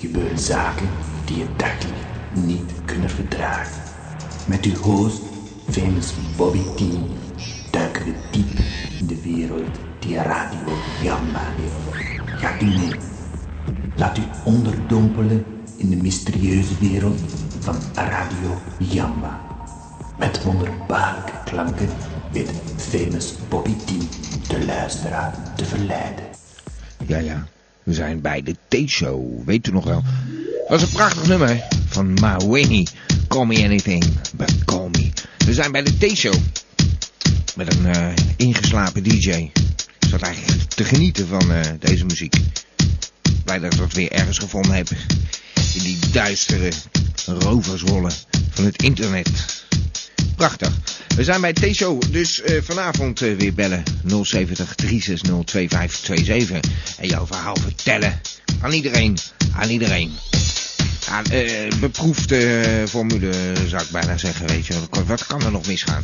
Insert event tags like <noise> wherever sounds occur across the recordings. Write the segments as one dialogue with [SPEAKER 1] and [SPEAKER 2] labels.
[SPEAKER 1] gebeuren zaken die je dagelijks niet kunnen verdragen. Met uw host, famous Bobby T, duiken we diep in de wereld die Radio Gamma heeft. Gaat u mee? Laat u onderdompelen in de mysterieuze wereld van Radio Jamba. Met wonderbaarlijke klanken weet famous Bobby T de luisteraar te verleiden.
[SPEAKER 2] Ja, ja. We zijn bij de T-show. Weet u nog wel? Dat is een prachtig nummer van Maweni. Call me anything, but call me. We zijn bij de T-show. Met een eh, ingeslapen DJ. Ik zat eigenlijk te genieten van eh, deze muziek. Blij dat ik dat weer ergens gevonden heb. In die duistere roverswollen van het internet. Prachtig. We zijn bij T-Show, dus eh, vanavond eh, weer bellen. 070 360 2527. En jouw verhaal vertellen. Aan iedereen. Aan iedereen. Ja, eh, beproefde eh, formule zou ik bijna zeggen, weet je. wel. Wat kan er nog misgaan?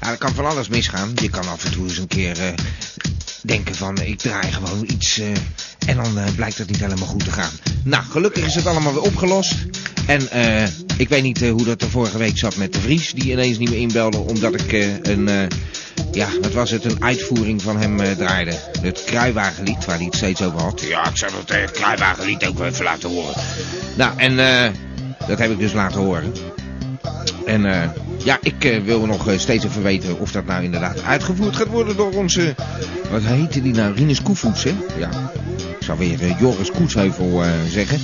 [SPEAKER 2] Ja, er kan van alles misgaan. Je kan af en toe eens een keer eh, denken van eh, ik draai gewoon iets eh, en dan eh, blijkt het niet helemaal goed te gaan. Nou, gelukkig is het allemaal weer opgelost. En eh, ik weet niet eh, hoe dat er vorige week zat met de Vries, die ineens niet meer inbelde omdat ik eh, een, eh, ja, wat was het, een uitvoering van hem eh, draaide. Het Kruiwagenlied, waar hij het steeds over had. Ja, ik zou dat eh, Kruiwagenlied ook wel even laten horen. Nou, en eh, dat heb ik dus laten horen. En eh, ja, ik eh, wil nog eh, steeds even weten of dat nou inderdaad uitgevoerd gaat worden door onze... Wat heette die nou? Rinus Koevoets, hè? Ja, ik zou weer eh, Joris Koetsheuvel eh, zeggen.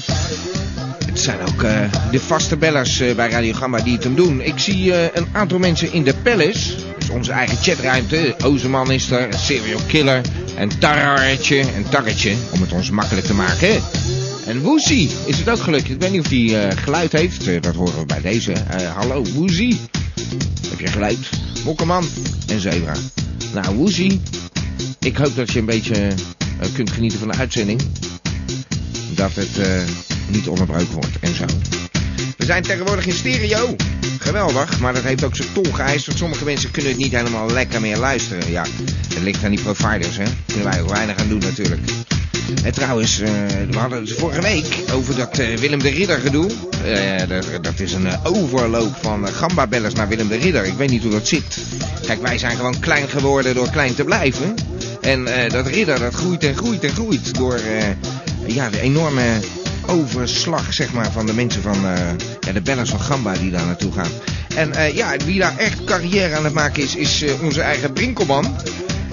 [SPEAKER 2] Het zijn ook eh, de vaste bellers eh, bij Radio Gamma die het hem doen. Ik zie eh, een aantal mensen in de palace. Dus onze eigen chatruimte. Ozeman is er, Serial Killer. En Tarretje en Tarretje, om het ons makkelijk te maken. En Woesie is het ook gelukt. Ik weet niet of hij eh, geluid heeft. Eh, dat horen we bij deze. Eh, hallo, Woesie. Heb je geluid? Mokkerman en Zebra. Nou, Woesie. Ik hoop dat je een beetje eh, kunt genieten van de uitzending. Dat het eh, niet onderbroken wordt en zo. We zijn tegenwoordig in stereo. Geweldig, maar dat heeft ook zijn tol geëist. Want sommige mensen kunnen het niet helemaal lekker meer luisteren. Ja, dat ligt aan die providers, hè. Daar kunnen wij ook weinig aan doen natuurlijk. En trouwens, eh, we hadden het vorige week over dat eh, Willem de Ridder gedoe. Eh, dat, dat is een eh, overloop van eh, gambabellers naar Willem de Ridder. Ik weet niet hoe dat zit. Kijk, wij zijn gewoon klein geworden door klein te blijven. En eh, dat Ridder, dat groeit en groeit en groeit door eh, ja, de enorme overslag zeg maar, van de mensen van eh, ja, de bellers van Gamba die daar naartoe gaan. En eh, ja, wie daar echt carrière aan het maken is, is eh, onze eigen Brinkelman.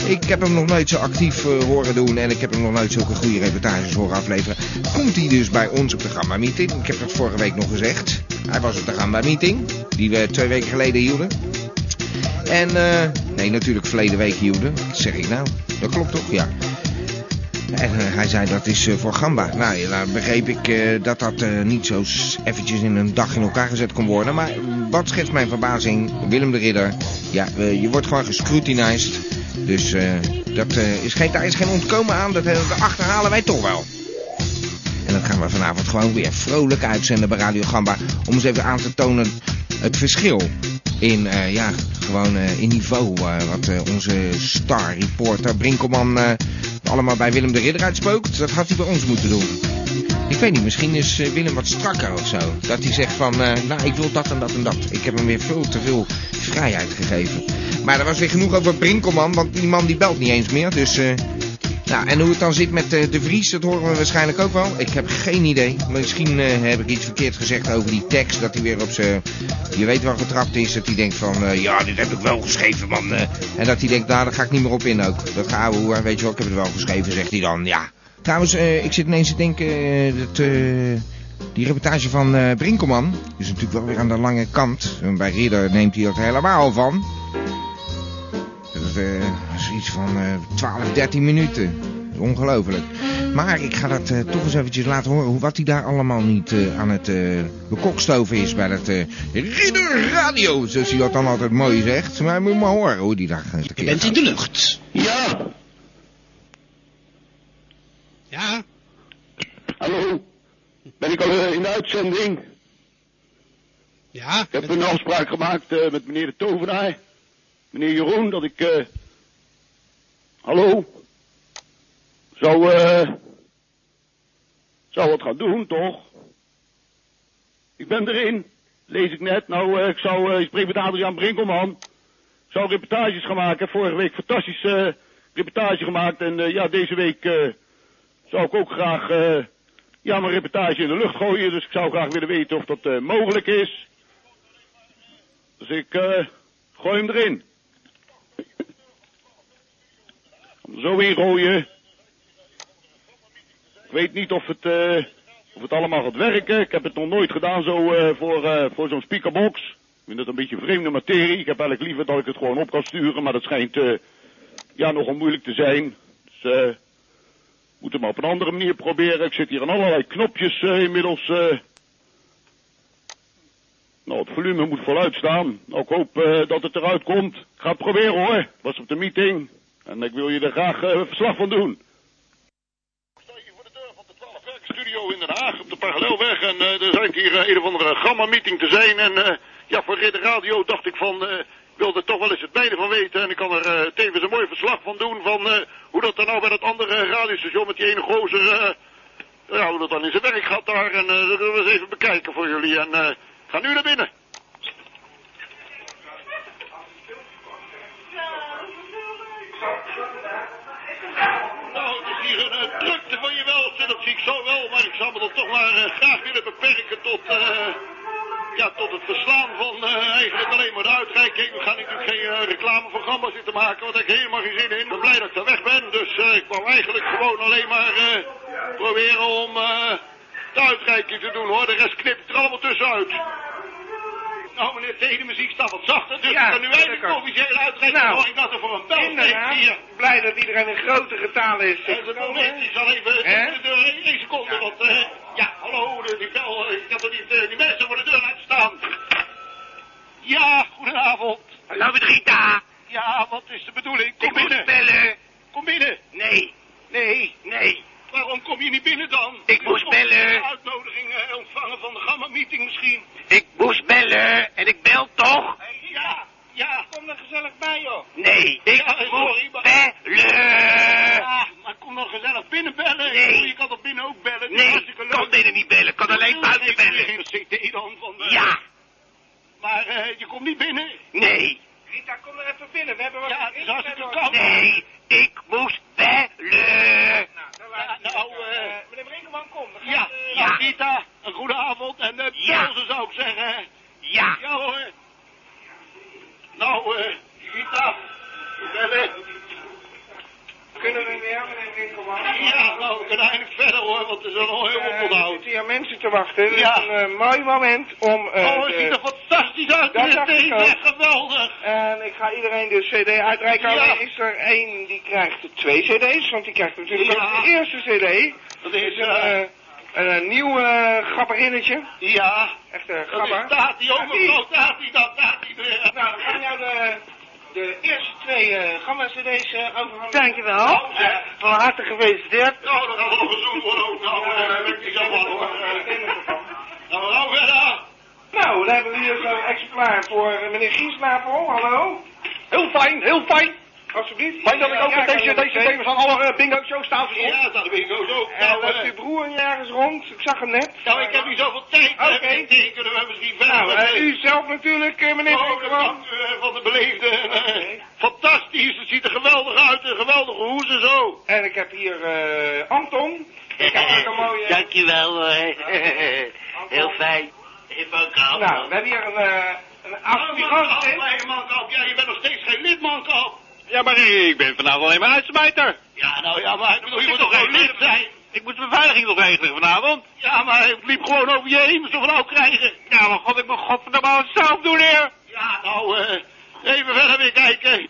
[SPEAKER 2] Ik heb hem nog nooit zo actief eh, horen doen en ik heb hem nog nooit zulke goede reportages horen afleveren. Komt hij dus bij ons op de Gamba Meeting? Ik heb dat vorige week nog gezegd. Hij was op de Gamba Meeting, die we twee weken geleden hielden. En, eh, nee, natuurlijk verleden week hielden. Wat zeg ik nou? Dat klopt toch? Ja. En eh, hij zei dat is eh, voor Gamba. Nou, ja, dan begreep ik eh, dat dat eh, niet zo s- eventjes in een dag in elkaar gezet kon worden. Maar wat schetst mijn verbazing? Willem de Ridder. Ja, eh, je wordt gewoon gescrutinized. Dus eh, dat, eh, is geen, daar is geen ontkomen aan. Dat, eh, dat achterhalen wij toch wel. En dat gaan we vanavond gewoon weer vrolijk uitzenden bij Radio Gamba. Om eens even aan te tonen het verschil in, eh, ja, gewoon eh, in niveau. eh, wat eh, onze star reporter Brinkelman eh, allemaal bij Willem de Ridder uitspookt. Dat had hij bij ons moeten doen. Ik weet niet, misschien is eh, Willem wat strakker of zo. Dat hij zegt van, eh, nou ik wil dat en dat en dat. Ik heb hem weer veel te veel vrijheid gegeven. Maar er was weer genoeg over Brinkelman, want die man die belt niet eens meer. Dus eh, nou, en hoe het dan zit met eh, de Vries, dat horen we waarschijnlijk ook wel. Ik heb geen idee. Misschien eh, heb ik iets verkeerd gezegd over die tekst. Dat hij weer op zijn. Je weet wel getrapt is. Dat hij denkt van. eh, ja, dit heb ik wel geschreven, man. eh. En dat hij denkt, nou, daar ga ik niet meer op in ook. Dat gaan we hoor. Weet je wel, ik heb het wel geschreven, zegt hij dan. Ja. Trouwens, eh, ik zit ineens te denken. eh, dat, eh, die reportage van eh, Brinkelman is natuurlijk wel weer aan de lange kant. En bij Ridder neemt hij dat helemaal van. Dat eh, is iets van eh 12, 13 minuten. Dat is Ongelooflijk. Maar ik ga dat eh, toch eens eventjes laten horen. hoe- Wat hij daar allemaal niet eh, aan het eh bekokstoven is bij dat eh Ridder Radio. Zoals hij dat dan altijd mooi zegt. Maar moet maar horen hoe die daar gaat. Je
[SPEAKER 3] bent in de lucht.
[SPEAKER 4] Ja,
[SPEAKER 3] Ja,
[SPEAKER 4] hallo. Ben ik al eh, in de uitzending?
[SPEAKER 3] ja.
[SPEAKER 4] Ik heb een afspraak gemaakt eh, met meneer de tovenaar. Meneer Jeroen, dat ik... eh, hallo? Zou, eh... Zou wat gaan doen, toch? Ik ben erin. Lees ik net. Nou, eh, ik zou, eh, ik spreek met Adriaan Brinkelman. Ik zou reportages gaan maken. Vorige week fantastisch eh, reportage gemaakt. En eh, ja, deze week eh, zou ik ook graag eh, ja, mijn reportage in de lucht gooien. Dus ik zou graag willen weten of dat eh, mogelijk is. Dus ik eh, gooi hem erin. Hem Zo ingooien. Ik weet niet of het, eh, of het allemaal gaat werken. Ik heb het nog nooit gedaan zo eh, voor, eh, voor zo'n speakerbox. Ik vind het een beetje vreemde materie. Ik heb eigenlijk liever dat ik het gewoon op kan sturen, maar dat schijnt eh, ja, nogal moeilijk te zijn. Dus eh moet het maar op een andere manier proberen. Ik zit hier aan allerlei knopjes eh, inmiddels. eh. Nou, het volume moet voluit staan. Nou, ik hoop eh, dat het eruit komt. Ik ga het proberen hoor. Het was op de meeting. En ik wil je er graag eh, verslag van doen voor de deur van de 12 Werkstudio in Den Haag op de Parallelweg. En eh, er zijn hier eh, een of andere gamma-meeting te zijn. En eh, ja, voor Ridder Radio dacht ik van, eh, ik wil er toch wel eens het mijne van weten. En ik kan er eh, tevens een mooi verslag van doen van eh, hoe dat er nou bij dat andere radiostation met die ene gozer... eh, ja, hoe dat dan in zijn werk gaat daar. En eh, dat willen we eens even bekijken voor jullie. En eh, ik ga nu naar binnen. Nou, het is hier een eh, drukte van je welste, dat zie ik zo wel. Maar ik zou me dan toch maar eh, graag willen beperken tot, eh, ja, tot het verslaan van eh, eigenlijk alleen maar de uitreiking. We gaan natuurlijk geen eh, reclameprogramma zitten maken, want daar heb ik helemaal geen zin in. Ik ben blij dat ik er weg ben, dus eh, ik wou eigenlijk gewoon alleen maar eh, proberen om eh, de uitreiking te doen hoor. De rest knip ik er allemaal tussenuit. Nou, meneer, tegen de muziek staat wat zachter, dus
[SPEAKER 5] Ja,
[SPEAKER 4] ik kan nu eindelijk
[SPEAKER 5] lekker.
[SPEAKER 4] officiële uitreiking.
[SPEAKER 5] Nou,
[SPEAKER 4] hoor ik dat er voor een bel steekt hier.
[SPEAKER 5] Inderdaad, blij dat iedereen in grote getalen is.
[SPEAKER 4] Eh, de moment die zal even
[SPEAKER 5] Hè?
[SPEAKER 4] de deur in één seconde,
[SPEAKER 5] Ja.
[SPEAKER 4] want eh, ja, hallo, de- die bel, eh, ik had er niet, eh, die mensen voor de deur laten staan. Ja, goedenavond.
[SPEAKER 5] Hallo met Rita,
[SPEAKER 4] Ja, wat is de bedoeling? Kom
[SPEAKER 5] ik moet
[SPEAKER 4] binnen,
[SPEAKER 5] bellen.
[SPEAKER 4] kom binnen.
[SPEAKER 5] Nee,
[SPEAKER 4] Nee,
[SPEAKER 5] nee.
[SPEAKER 4] waarom kom je niet binnen dan?
[SPEAKER 5] Ik moest
[SPEAKER 4] Kom,
[SPEAKER 5] bellen.
[SPEAKER 4] een Uitnodiging eh, ontvangen van de Gamma-meeting misschien.
[SPEAKER 5] Ik moest bellen en ik bel toch?
[SPEAKER 4] Ja, ja. Kom er gezellig bij, joh.
[SPEAKER 5] Nee, ik
[SPEAKER 4] Ja, sorry,
[SPEAKER 5] moet
[SPEAKER 4] maar-
[SPEAKER 5] bellen.
[SPEAKER 4] Ja, Ah, maar kom dan gezellig binnen bellen.
[SPEAKER 5] Nee.
[SPEAKER 4] Ik bedoel, Je kan toch binnen ook bellen? Het is
[SPEAKER 5] Nee,
[SPEAKER 4] hartstikke leuk.
[SPEAKER 5] kan binnen niet bellen, kan alleen buiten
[SPEAKER 4] Ik heb
[SPEAKER 5] bellen.
[SPEAKER 4] hier geen CD dan van... eh,
[SPEAKER 5] Ja,
[SPEAKER 4] Maar eh, je komt niet binnen.
[SPEAKER 5] nee,
[SPEAKER 6] Rita, kom er even binnen. We hebben wat
[SPEAKER 4] Ja, het is hartstikke koud.
[SPEAKER 5] nee, ik moest bellen.
[SPEAKER 6] Nou, dan
[SPEAKER 4] Ja,
[SPEAKER 6] laat ik
[SPEAKER 4] nou,
[SPEAKER 6] het,
[SPEAKER 4] eh,
[SPEAKER 6] eh, meneer Brinkelman, kom. We gaan,
[SPEAKER 4] Ja,
[SPEAKER 6] eh,
[SPEAKER 5] Ja.
[SPEAKER 4] ja, Rita, een goede avond en eh
[SPEAKER 5] Ja.
[SPEAKER 4] Pilsen zou ik zeggen.
[SPEAKER 5] Ja,
[SPEAKER 4] Ja hoor. Nou, eh, Rita, bellen.
[SPEAKER 6] Kunnen we weer, meneer Brinkelman?
[SPEAKER 4] Ja, nou, we kunnen eigenlijk verder hoor, want er is al heel
[SPEAKER 6] Eh,
[SPEAKER 4] veel
[SPEAKER 6] er
[SPEAKER 4] onthoud.
[SPEAKER 6] zitten hier mensen te wachten. Het
[SPEAKER 4] Ja.
[SPEAKER 6] is een eh, mooi moment om... eh,
[SPEAKER 4] Oh, het
[SPEAKER 6] de-
[SPEAKER 4] ziet er fantastisch
[SPEAKER 6] Dat
[SPEAKER 4] uit, meneer
[SPEAKER 6] dacht ik
[SPEAKER 4] Teven.
[SPEAKER 6] ook.
[SPEAKER 4] Geweldig.
[SPEAKER 6] En ik ga iedereen
[SPEAKER 7] dus.
[SPEAKER 6] de cd uitreiken.
[SPEAKER 4] Ja.
[SPEAKER 6] Alleen is er één die krijgt twee cd's. Want die krijgt natuurlijk
[SPEAKER 4] Ja.
[SPEAKER 6] ook de eerste cd.
[SPEAKER 4] Dat
[SPEAKER 6] Het
[SPEAKER 4] is,
[SPEAKER 6] is een,
[SPEAKER 4] eh,
[SPEAKER 6] eh, een, eh, nieuw eh gabberinnetje.
[SPEAKER 4] ja,
[SPEAKER 6] Echt eh, een
[SPEAKER 4] dat is
[SPEAKER 6] gabber.
[SPEAKER 4] Tati ook,
[SPEAKER 6] Ja, die.
[SPEAKER 4] mevrouw Tati, dat Tati. eh.
[SPEAKER 6] Nou, we gaan jou de, de eerste twee eh gamma-cd's eh, overhandigen.
[SPEAKER 5] Dankjewel.
[SPEAKER 6] Oh, Ja. Van harte gefeliciteerd.
[SPEAKER 4] Nou, dan gaat het nog gezoend worden ook. Nou, eh, weet ik niet zo van hoor. Eh, Nou, nou verder.
[SPEAKER 6] Nou, dan hebben we hier zo'n exemplaar voor eh, meneer Giesnapel. Hallo.
[SPEAKER 8] Heel fijn, heel fijn.
[SPEAKER 6] Alsjeblieft.
[SPEAKER 8] Fijn dat ik
[SPEAKER 6] Ja,
[SPEAKER 8] ook
[SPEAKER 6] ja,
[SPEAKER 8] met
[SPEAKER 6] kan
[SPEAKER 8] deze,
[SPEAKER 6] je
[SPEAKER 8] deze
[SPEAKER 6] meteen.
[SPEAKER 8] thema's aan alle eh, bingo showtafels rond.
[SPEAKER 4] Ja, dat weet ik ook.
[SPEAKER 6] En
[SPEAKER 4] Nou,
[SPEAKER 6] loopt
[SPEAKER 4] eh,
[SPEAKER 6] uw broer niet ergens rond? Ik zag hem net.
[SPEAKER 4] Nou, ik heb niet zoveel tijd.
[SPEAKER 6] Oké.
[SPEAKER 4] Okay. Tegen kunnen we misschien verder.
[SPEAKER 6] Nou, eh,
[SPEAKER 4] Eh,
[SPEAKER 6] u zelf natuurlijk, eh, meneer
[SPEAKER 4] oh, dat
[SPEAKER 6] Brinkelman.
[SPEAKER 4] dank u, eh, van de beleefde. eh, Fantastisch, het ziet er geweldig uit. Een geweldige hoes en zo.
[SPEAKER 6] En ik heb hier eh, Anton. Ik heb ook een mooie...
[SPEAKER 5] Dankjewel hoor. Heel fijn. Ik ben ook al.
[SPEAKER 6] Nou, we hebben hier een, eh een
[SPEAKER 4] Oh, Mankap,
[SPEAKER 6] aspirant in.
[SPEAKER 4] hey, Mankap. Ja, je bent nog steeds geen lid, Mankap.
[SPEAKER 8] Ja, maar ik ben vanavond alleen maar uitsmijter.
[SPEAKER 4] Ja, nou ja, maar ik bedoel, je
[SPEAKER 8] Ik
[SPEAKER 4] moet
[SPEAKER 8] moet
[SPEAKER 4] toch geen
[SPEAKER 8] nog
[SPEAKER 4] lid zijn?
[SPEAKER 8] Ik moet de beveiliging nog regelen vanavond.
[SPEAKER 4] Ja, maar het liep gewoon over je heen, zo nou krijgen.
[SPEAKER 8] Nou, maar god, ik mag godverdomme aan het zelf doen, heer.
[SPEAKER 4] Ja, nou, eh, even verder weer kijken.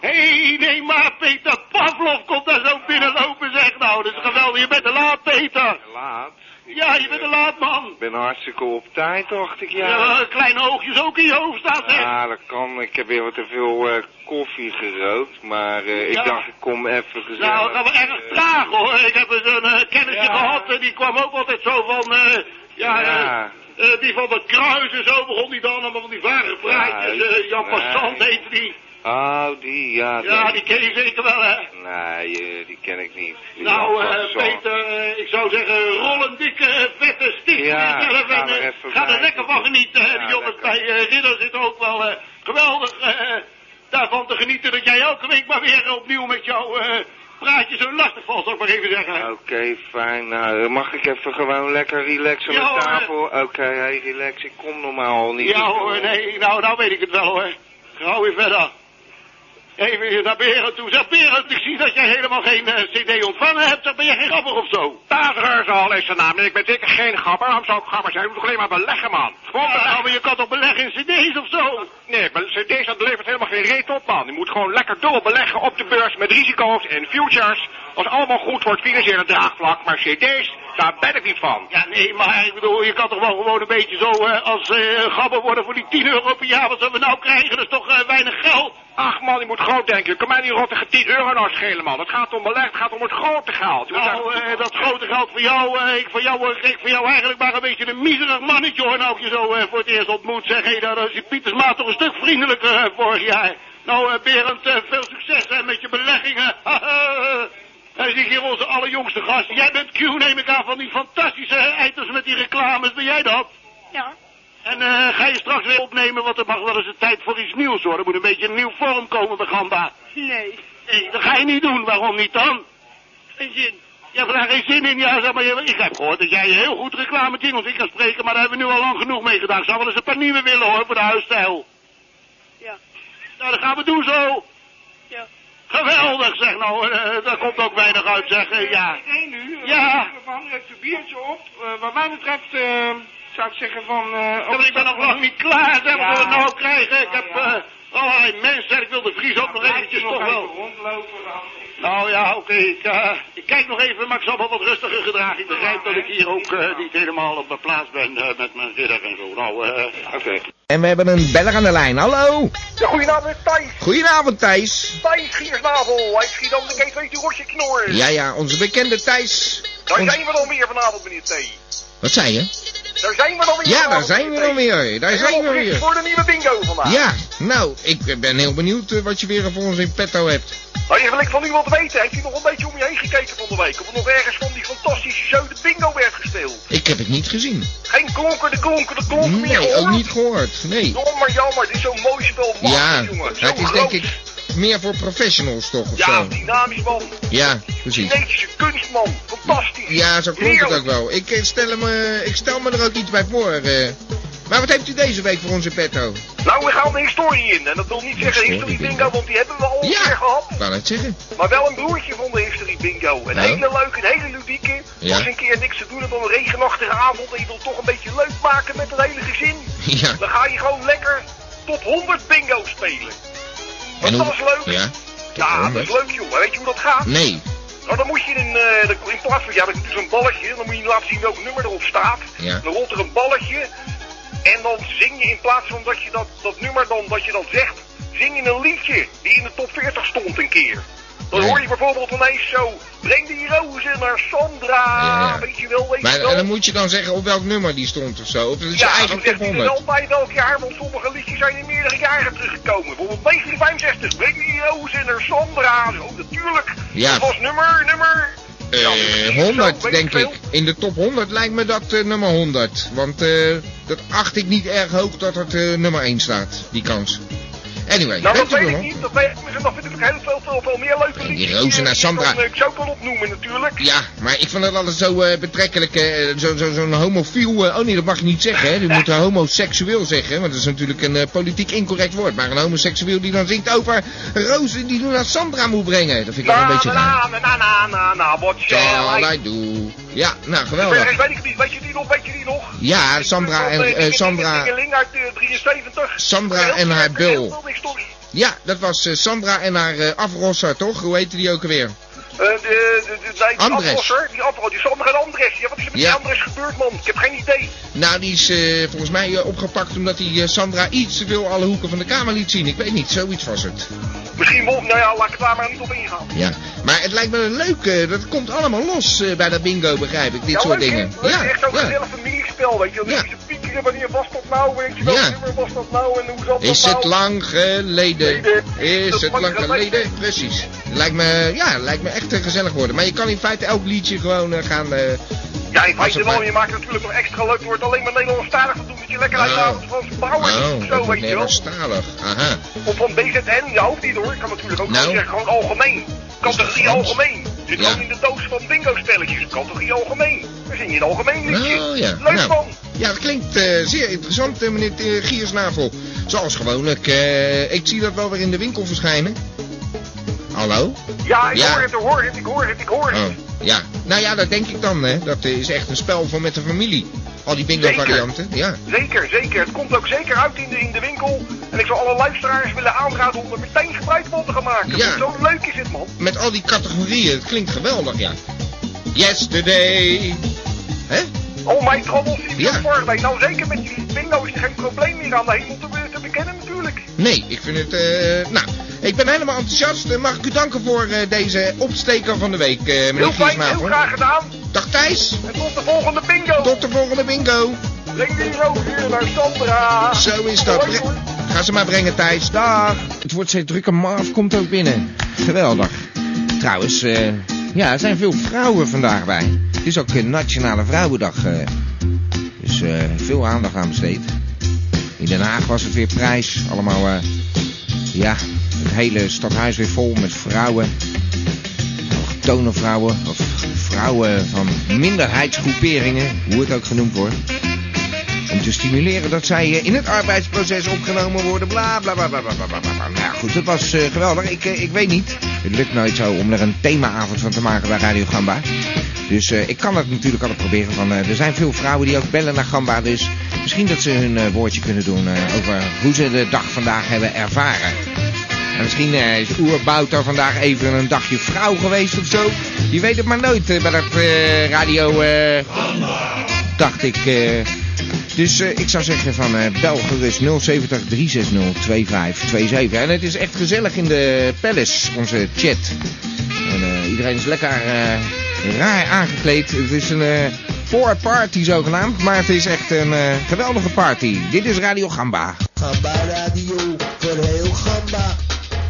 [SPEAKER 4] Hé, hey, nee, maar Peter Pavlov komt daar zo binnenlopen, zeg nou. Dat is geweldig, je bent te laat, Peter.
[SPEAKER 6] Laat.
[SPEAKER 4] Ja, je bent te laat, man.
[SPEAKER 6] Ik ben hartstikke op tijd, dacht ik, ja.
[SPEAKER 4] Ja, kleine oogjes ook in je hoofd staat, hè?
[SPEAKER 6] Ja, dat kan. Ik heb weer wat te veel eh, koffie gerookt, maar eh,
[SPEAKER 4] Ja.
[SPEAKER 6] ik dacht ik kom even gezellig.
[SPEAKER 4] Nou, dat was erg
[SPEAKER 6] eh,
[SPEAKER 4] traag hoor. Ik heb eens een eh, kennisje
[SPEAKER 6] Ja.
[SPEAKER 4] gehad en die kwam ook altijd zo van. eh, ja,
[SPEAKER 6] Ja.
[SPEAKER 4] eh, eh, die van de kruis en zo begon die dan allemaal van die vage praatjes.
[SPEAKER 6] Kruis,
[SPEAKER 4] eh, Jan
[SPEAKER 6] nee.
[SPEAKER 4] Passant heette die.
[SPEAKER 6] Oh, die, ja.
[SPEAKER 4] Ja,
[SPEAKER 6] nee.
[SPEAKER 4] die ken je zeker wel, hè?
[SPEAKER 6] Nee, eh, die ken ik niet. Die
[SPEAKER 4] Nou,
[SPEAKER 6] had
[SPEAKER 4] eh,
[SPEAKER 6] wat zo-
[SPEAKER 4] Peter, eh, ik zou zeggen, rol een dikke eh, vet lekker stief.
[SPEAKER 9] Ja,
[SPEAKER 4] Ga er
[SPEAKER 9] gaan we
[SPEAKER 4] lekker-
[SPEAKER 9] even
[SPEAKER 4] eh, ga er
[SPEAKER 9] bij.
[SPEAKER 4] lekker van genieten. hè.
[SPEAKER 9] Ja,
[SPEAKER 4] die jongens
[SPEAKER 9] lekker.
[SPEAKER 4] bij eh Ridder zitten ook wel eh, geweldig eh, daarvan te genieten dat jij elke week maar weer opnieuw met jouw eh, praatje zo lastig valt, zou ik maar even zeggen.
[SPEAKER 9] Oké,
[SPEAKER 4] Ja,
[SPEAKER 9] fijn. Nou, dan mag ik even gewoon lekker relaxen
[SPEAKER 4] Ja,
[SPEAKER 9] op
[SPEAKER 4] hoor.
[SPEAKER 9] tafel? Oké, hey, relax. Ik kom normaal al niet.
[SPEAKER 4] hoor, nee, nou, nou weet ik het wel hoor. Ga weer verder. Even hier naar Berend toe. Zeg Berend, ik zie dat jij helemaal geen eh, cd ontvangen hebt. Dan ben je geen grappig of zo.
[SPEAKER 9] al is zijn naam. Ik ben zeker geen gabber. Waarom zou ik gabber zijn? Ik moet toch alleen maar beleggen, man. Gewoon
[SPEAKER 4] Ja, nou,
[SPEAKER 9] beleggen.
[SPEAKER 4] maar je kan toch beleggen in cd's of zo?
[SPEAKER 9] Nee, maar cd's, dat levert helemaal geen reet op, man. Je moet gewoon lekker door beleggen op de beurs met risico's en futures. Als allemaal goed wordt, financiële draagvlak. Maar cd's, daar ben ik niet van.
[SPEAKER 4] Ja, nee, maar ik bedoel, je kan toch wel gewoon een beetje zo eh, als eh gabber worden voor die 10 euro per jaar. Wat zullen we nou krijgen? Dat is toch eh, weinig geld?
[SPEAKER 9] Ach man, je moet groot denken. Je kan mij die rotte 10 euro nou schelen, man. Het gaat om beleg, het gaat om het grote geld. Je moet
[SPEAKER 4] Nou,
[SPEAKER 9] daar-
[SPEAKER 4] eh, dat grote geld voor jou, eh, ik voor jou, word- ik voor jou eigenlijk maar een beetje een miserig mannetje hoor. Nou, ik je zo eh, voor het eerst ontmoet, zeg hé, nou, dan is die Pietersmaat toch een stuk vriendelijker eh, vorig jaar. Nou, eh, Berend, eh, veel succes hè, met je beleggingen. <laughs> Hij is hier onze allerjongste gast. Jij bent Q, neem ik aan, van die fantastische eiters met die reclames. Ben jij dat?
[SPEAKER 6] Ja.
[SPEAKER 4] En eh, ga je straks weer opnemen, want er mag wel eens een tijd voor iets nieuws hoor. Er moet een beetje een nieuw vorm komen bij Gamba.
[SPEAKER 6] Nee.
[SPEAKER 4] Nee, dat ga je niet doen. Waarom niet dan?
[SPEAKER 6] Geen zin.
[SPEAKER 4] Je hebt daar geen zin in, ja, zeg maar. je- Ik heb gehoord dat jij heel goed reclame jingles in kan spreken, maar daar hebben we nu al lang genoeg mee gedaan. Ik zou wel eens een paar nieuwe willen hoor, voor de huisstijl.
[SPEAKER 6] Ja.
[SPEAKER 4] Nou, dat gaan we doen zo.
[SPEAKER 6] Ja.
[SPEAKER 4] Geweldig, zeg nou. eh, daar komt ook weinig uit, zeg. eh, ja.
[SPEAKER 5] Eén uur.
[SPEAKER 4] Ja.
[SPEAKER 5] Van, het een biertje op. Eh, wat mij betreft eh, zou ik zeggen van... eh,
[SPEAKER 4] Ja, maar ik ben nog lang niet klaar, zeg. Wat
[SPEAKER 5] Ja.
[SPEAKER 4] we nou krijgen? Ik
[SPEAKER 5] Ja,
[SPEAKER 4] heb
[SPEAKER 5] ja.
[SPEAKER 4] eh allerlei mensen. Ik wil de Vries ook nog
[SPEAKER 5] blijf
[SPEAKER 4] eventjes
[SPEAKER 5] nog
[SPEAKER 4] toch
[SPEAKER 5] even
[SPEAKER 4] wel.
[SPEAKER 5] rondlopen dan.
[SPEAKER 4] Nou ja, oké. ik, eh, ik kijk nog even, maar ik zal wel wat rustiger gedragen. Ik begrijp dat ik hier ook eh, niet helemaal op mijn plaats ben eh, met mijn ridder en zo. Nou, eh...
[SPEAKER 9] Oké.
[SPEAKER 2] En we hebben een beller aan de lijn. Hallo.
[SPEAKER 7] Ja, goedenavond, Thijs.
[SPEAKER 2] Goedenavond, Thijs.
[SPEAKER 7] Thijs Giersnavel. Hij schiet ook nog even uit die rosje knor.
[SPEAKER 2] Ja, ja, onze bekende Thijs.
[SPEAKER 7] Daar
[SPEAKER 2] Ons-
[SPEAKER 7] zijn we dan weer vanavond, meneer T.
[SPEAKER 2] Wat zei je?
[SPEAKER 7] Daar zijn we dan weer
[SPEAKER 2] Ja, daar
[SPEAKER 7] vanavond,
[SPEAKER 2] zijn we
[SPEAKER 7] meneer T.
[SPEAKER 2] dan weer. Daar
[SPEAKER 7] En
[SPEAKER 2] zijn we
[SPEAKER 7] nog niks
[SPEAKER 2] weer.
[SPEAKER 7] voor de nieuwe bingo vandaag.
[SPEAKER 2] Ja, nou, ik ben heel benieuwd eh, wat je weer voor ons in petto hebt.
[SPEAKER 7] Nou, die wil ik van u wat weten. Heeft u nog een beetje om je heen gekeken van de week? Of er nog ergens van die fantastische show de bingo werd gespeeld?
[SPEAKER 2] Ik heb het niet gezien.
[SPEAKER 7] Geen klonken, de klonken, de klonken meer
[SPEAKER 2] Nee,
[SPEAKER 7] gehoord?
[SPEAKER 2] ook niet gehoord. Nee.
[SPEAKER 7] Jammer, jammer. Dit is zo'n mooi spel. Wacht,
[SPEAKER 2] Ja,
[SPEAKER 7] jongen. Zo
[SPEAKER 2] het is
[SPEAKER 7] groot.
[SPEAKER 2] denk ik meer voor professionals toch of
[SPEAKER 7] Ja,
[SPEAKER 2] zo.
[SPEAKER 7] dynamisch man.
[SPEAKER 2] Ja, precies.
[SPEAKER 7] Kinetische kunstman. Fantastisch.
[SPEAKER 2] Ja, zo klonk het
[SPEAKER 7] Heerlijk.
[SPEAKER 2] ook wel. Ik, eh, stel hem, eh, ik stel me er ook iets bij voor. eh. Maar wat heeft u deze week voor ons in petto?
[SPEAKER 7] Nou, we gaan de historie in. En dat wil niet zeggen
[SPEAKER 2] Historie
[SPEAKER 7] historie
[SPEAKER 2] bingo,
[SPEAKER 7] bingo, want die hebben we al
[SPEAKER 2] Ja.
[SPEAKER 7] weer gehad.
[SPEAKER 2] Ik wou net zeggen.
[SPEAKER 7] Maar wel een broertje van de historie bingo. Een
[SPEAKER 2] Ja.
[SPEAKER 7] hele leuke, een hele ludieke.
[SPEAKER 2] Ja.
[SPEAKER 7] Als je een keer niks te doen hebt op een regenachtige avond en je wilt toch een beetje leuk maken met het hele gezin.
[SPEAKER 2] Ja.
[SPEAKER 7] Dan ga je gewoon lekker top 100 bingo spelen.
[SPEAKER 2] En
[SPEAKER 7] Want
[SPEAKER 2] hoe-
[SPEAKER 7] dat is leuk.
[SPEAKER 2] Ja.
[SPEAKER 7] Ja, Ah, dat
[SPEAKER 2] honderd.
[SPEAKER 7] is leuk joh. Weet je hoe dat gaat?
[SPEAKER 2] Nee.
[SPEAKER 7] Nou, dan moet je in, eh, de- in plaats van, ja, dan doet zo'n balletje, dan moet je laten zien welk nummer erop staat.
[SPEAKER 2] Ja.
[SPEAKER 7] Dan rolt er een balletje en dan zing je in plaats van dat je dat, dat nummer dan, dat je dat zegt, zing je een liedje die in de top 40 stond een keer. Dan
[SPEAKER 2] Nee.
[SPEAKER 7] hoor je bijvoorbeeld ineens zo, breng die rozen naar Sandra,
[SPEAKER 2] Ja, ja.
[SPEAKER 7] Ah, weet je wel, weet
[SPEAKER 2] Maar
[SPEAKER 7] je wel.
[SPEAKER 2] en dan moet je dan zeggen op welk nummer die stond of zo. Of het is je
[SPEAKER 7] ja,
[SPEAKER 2] eigen
[SPEAKER 7] dan
[SPEAKER 2] top
[SPEAKER 7] zegt hij er
[SPEAKER 2] 100.
[SPEAKER 7] wel bij welk jaar, want sommige liedjes zijn in meerdere jaren teruggekomen. Bijvoorbeeld 1965, breng die rozen naar Sandra, zo natuurlijk.
[SPEAKER 2] Ja.
[SPEAKER 7] Dat was nummer, nummer... ja, dus
[SPEAKER 2] Eh
[SPEAKER 7] precies, zo,
[SPEAKER 2] 100
[SPEAKER 7] weet
[SPEAKER 2] denk
[SPEAKER 7] veel.
[SPEAKER 2] ik. In de top 100 lijkt me dat eh, nummer 100. Want eh, dat acht ik niet erg hoog dat het eh, nummer 1 staat. Die kans. Anyway,
[SPEAKER 7] Nou, dat
[SPEAKER 2] weet u
[SPEAKER 7] weet
[SPEAKER 2] wel?
[SPEAKER 7] ik niet. Dat weet ik niet. Dat vind ik natuurlijk heel veel, veel, veel meer leuke
[SPEAKER 2] Die
[SPEAKER 7] liedjes.
[SPEAKER 2] rozen naar
[SPEAKER 7] eh,
[SPEAKER 2] Sandra.
[SPEAKER 7] dan, eh, Ik zou het wel opnoemen natuurlijk.
[SPEAKER 2] Ja, maar ik vond het altijd zo eh, betrekkelijk, eh, zo- zo- zo'n homofiel... eh, oh nee, dat mag je niet zeggen, hè. Je moet eh, homoseksueel zeggen, want dat is natuurlijk een eh, politiek incorrect woord. Maar een homoseksueel die dan zingt over rozen die doen naar Sandra moet brengen. Dat vind ik wel
[SPEAKER 7] Na,
[SPEAKER 2] een beetje raar.
[SPEAKER 7] na, na, na, na, na, na, wat
[SPEAKER 2] Zal
[SPEAKER 7] shall I...
[SPEAKER 2] I do? Ja, nou,
[SPEAKER 7] Verder
[SPEAKER 2] geweldig.
[SPEAKER 7] weet ik het niet. Weet je die nog? Weet je die nog?
[SPEAKER 2] Ja, Sandra en,
[SPEAKER 7] Van, eh,
[SPEAKER 2] eh,
[SPEAKER 7] Dingen, Dingen,
[SPEAKER 2] Sandra,
[SPEAKER 7] Dingen uit eh, 73.
[SPEAKER 2] Sandra
[SPEAKER 7] Heel
[SPEAKER 2] en haar
[SPEAKER 7] sterk,
[SPEAKER 2] bul.
[SPEAKER 7] heel veel historie.
[SPEAKER 2] ja, dat was eh, Sandra en haar eh, afrosser, toch? Hoe heette die ook alweer?
[SPEAKER 7] Eh, de, de, de, nee, die
[SPEAKER 2] Andres.
[SPEAKER 7] Afrosser, die Afro, die Sandra en Andres. Ja, wat is er met
[SPEAKER 2] Ja.
[SPEAKER 7] die Andres gebeurd, man? Ik heb geen idee.
[SPEAKER 2] Nou, die is eh, volgens mij eh, opgepakt omdat hij eh, Sandra iets te veel alle hoeken van de kamer liet zien. Ik weet niet, zoiets was het.
[SPEAKER 7] Misschien wel, nou ja, laat ik het daar maar niet op ingaan.
[SPEAKER 2] Ja, maar het lijkt me een leuk. eh, dat komt allemaal los eh, bij dat bingo, begrijp ik. Dit
[SPEAKER 7] ja,
[SPEAKER 2] soort
[SPEAKER 7] leuk, hè?
[SPEAKER 2] dingen.
[SPEAKER 7] Leuk,
[SPEAKER 2] ja,
[SPEAKER 7] echt zo'n
[SPEAKER 2] ja.
[SPEAKER 7] gezellig familiespel, weet je. Dan
[SPEAKER 2] Ja.
[SPEAKER 7] ja. ze piekeren, wanneer was dat nou, weet je wel,
[SPEAKER 2] Ja.
[SPEAKER 7] nummer was dat nou en hoe zat
[SPEAKER 2] Is
[SPEAKER 7] dat
[SPEAKER 2] het
[SPEAKER 7] nou?
[SPEAKER 2] lang geleden?
[SPEAKER 7] Geleden.
[SPEAKER 2] Is
[SPEAKER 7] Dat
[SPEAKER 2] het
[SPEAKER 7] mag
[SPEAKER 2] lang
[SPEAKER 7] geleden.
[SPEAKER 2] geleden? Precies. Lijkt me, ja, lijkt me echt eh, gezellig worden. Maar je kan in feite elk liedje gewoon eh, gaan, eh,
[SPEAKER 7] Ja, ik weet
[SPEAKER 2] Als
[SPEAKER 7] het
[SPEAKER 2] het
[SPEAKER 7] wel.
[SPEAKER 2] maar-
[SPEAKER 7] Je maakt het natuurlijk nog extra leuk door het alleen maar Nederlandstalig te doen. Dat je lekker uit de
[SPEAKER 2] Oh.
[SPEAKER 7] avond van verbouwen
[SPEAKER 2] Oh,
[SPEAKER 7] zo,
[SPEAKER 2] dat wordt
[SPEAKER 7] weet je wel.
[SPEAKER 2] Nederlandstalig. Aha.
[SPEAKER 7] Of van BZN, je hoeft niet hoor. Ik kan natuurlijk ook
[SPEAKER 2] Nou.
[SPEAKER 7] gewoon zeggen, gewoon algemeen. Categorie
[SPEAKER 2] Frans?
[SPEAKER 7] algemeen. Zit
[SPEAKER 2] Ja.
[SPEAKER 7] gewoon in de doos van bingo spelletjes. Categorie algemeen. Dan zing je een algemeen liedje.
[SPEAKER 2] Nou, ja.
[SPEAKER 7] Leuk
[SPEAKER 2] nou.
[SPEAKER 7] man.
[SPEAKER 2] Ja, dat klinkt eh, zeer interessant, eh, meneer eh, Giersnavel. Zoals gewoonlijk. eh, ik zie dat wel weer in de winkel verschijnen. Hallo?
[SPEAKER 7] Ja, ik
[SPEAKER 2] Ja.
[SPEAKER 7] hoor het, ik hoor het, ik hoor het, ik hoor het.
[SPEAKER 2] Oh, ja. Nou ja, dat denk ik dan, hè. Dat eh, is echt een spel voor met de familie. Al die bingo-varianten. Ja.
[SPEAKER 7] Zeker, zeker. Het komt ook zeker uit in de, in de winkel. En ik zou alle luisteraars willen aanraden om er meteen gebruik van te gaan maken.
[SPEAKER 2] Ja.
[SPEAKER 7] Zo leuk is het man.
[SPEAKER 2] Met al die categorieën. Het klinkt geweldig, ja. Yesterday. Hè?
[SPEAKER 7] Oh, mijn trommels die
[SPEAKER 2] Ja.
[SPEAKER 7] ja. Nou, zeker met die bingo is er geen probleem meer aan de hemel te, te bekennen natuurlijk.
[SPEAKER 2] Nee, ik vind het... eh, nou, ik ben helemaal enthousiast. Eh, Mag ik u danken voor eh, deze opsteker van de week, eh, meneer
[SPEAKER 7] Heel fijn, heel
[SPEAKER 2] Giersnavel.
[SPEAKER 7] graag gedaan.
[SPEAKER 2] Dag Thijs.
[SPEAKER 7] En tot de volgende bingo.
[SPEAKER 2] Tot de volgende bingo.
[SPEAKER 7] Breng die rook hier naar Sandra.
[SPEAKER 2] Zo is dat.
[SPEAKER 7] Hoi, hoi.
[SPEAKER 2] Ga ze maar brengen, Thijs. Dag. Het wordt steeds drukker. Marv komt ook binnen. Geweldig. Trouwens, eh, ja, er zijn veel vrouwen vandaag bij. Het is ook eh, Nationale Vrouwendag. eh. dus eh, veel aandacht aan besteed. In Den Haag was het weer prijs. Allemaal, eh, ja, het hele stadhuis weer vol met vrouwen. Allochtone vrouwen. Of vrouwen van minderheidsgroeperingen. Hoe het ook genoemd wordt om te stimuleren dat zij eh, in het arbeidsproces opgenomen worden. Bla bla bla bla bla bla, bla. bla. Nou ja, goed, dat was eh, geweldig. Ik, eh, ik weet niet. Het lukt nooit zo om er een themaavond van te maken bij Radio Gamba. Dus eh, ik kan dat natuurlijk altijd proberen. Van, eh, er zijn veel vrouwen die ook bellen naar Gamba. Dus misschien dat ze hun eh, woordje kunnen doen eh, over hoe ze de dag vandaag hebben ervaren. En misschien eh, is Oerbouter vandaag even een dagje vrouw geweest of zo. Je weet het maar nooit eh, bij dat eh, radio. eh, dacht ik. eh. dus eh, ik zou zeggen van eh bel gerust 070 360 2527. En het is echt gezellig in de palace, onze chat. En eh, iedereen is lekker eh, raar aangekleed. Het is een eh voor-party zogenaamd, maar het is echt een eh, geweldige party. Dit is Radio Gamba.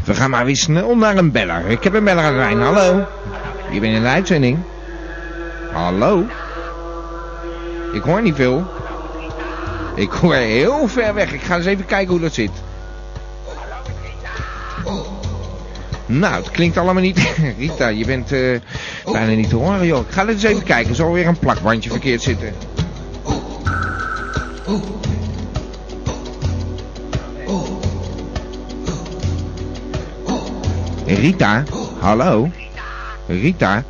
[SPEAKER 2] We gaan maar weer snel naar een beller. Ik heb een beller aan de lijn. Hallo. Je bent in de uitzending. Hallo. Ik hoor niet veel. Ik hoor heel ver weg. Ik ga eens even kijken hoe dat zit. Nou, het klinkt allemaal niet. <laughs> Rita, je bent eh, bijna niet te horen, joh. Ik ga eens even kijken. Er zal weer een plakbandje verkeerd zitten. Rita, hallo. Rita.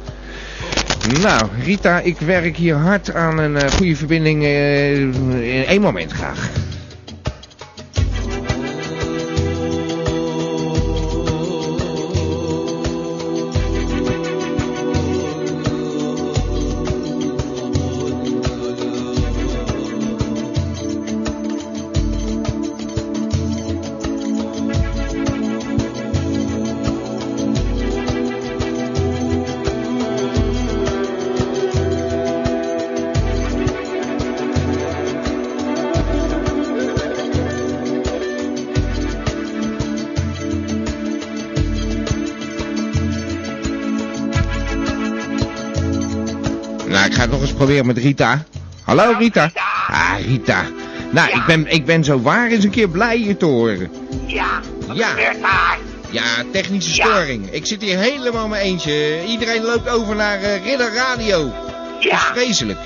[SPEAKER 2] Nou, Rita, ik werk hier hard aan een eh, goede verbinding. eh, in één moment graag. Nou, ik ga het nog eens proberen met Rita. Hallo Nou, Rita. Ah, Rita. Nou, ik, ben, ik ben zo waar eens een keer blij je te horen.
[SPEAKER 6] Ja,
[SPEAKER 2] Ja.
[SPEAKER 6] daar?
[SPEAKER 2] Ja, technische storing. Ik zit hier helemaal mijn eentje. Iedereen loopt over naar eh, Ridder Radio. Dat is vreselijk.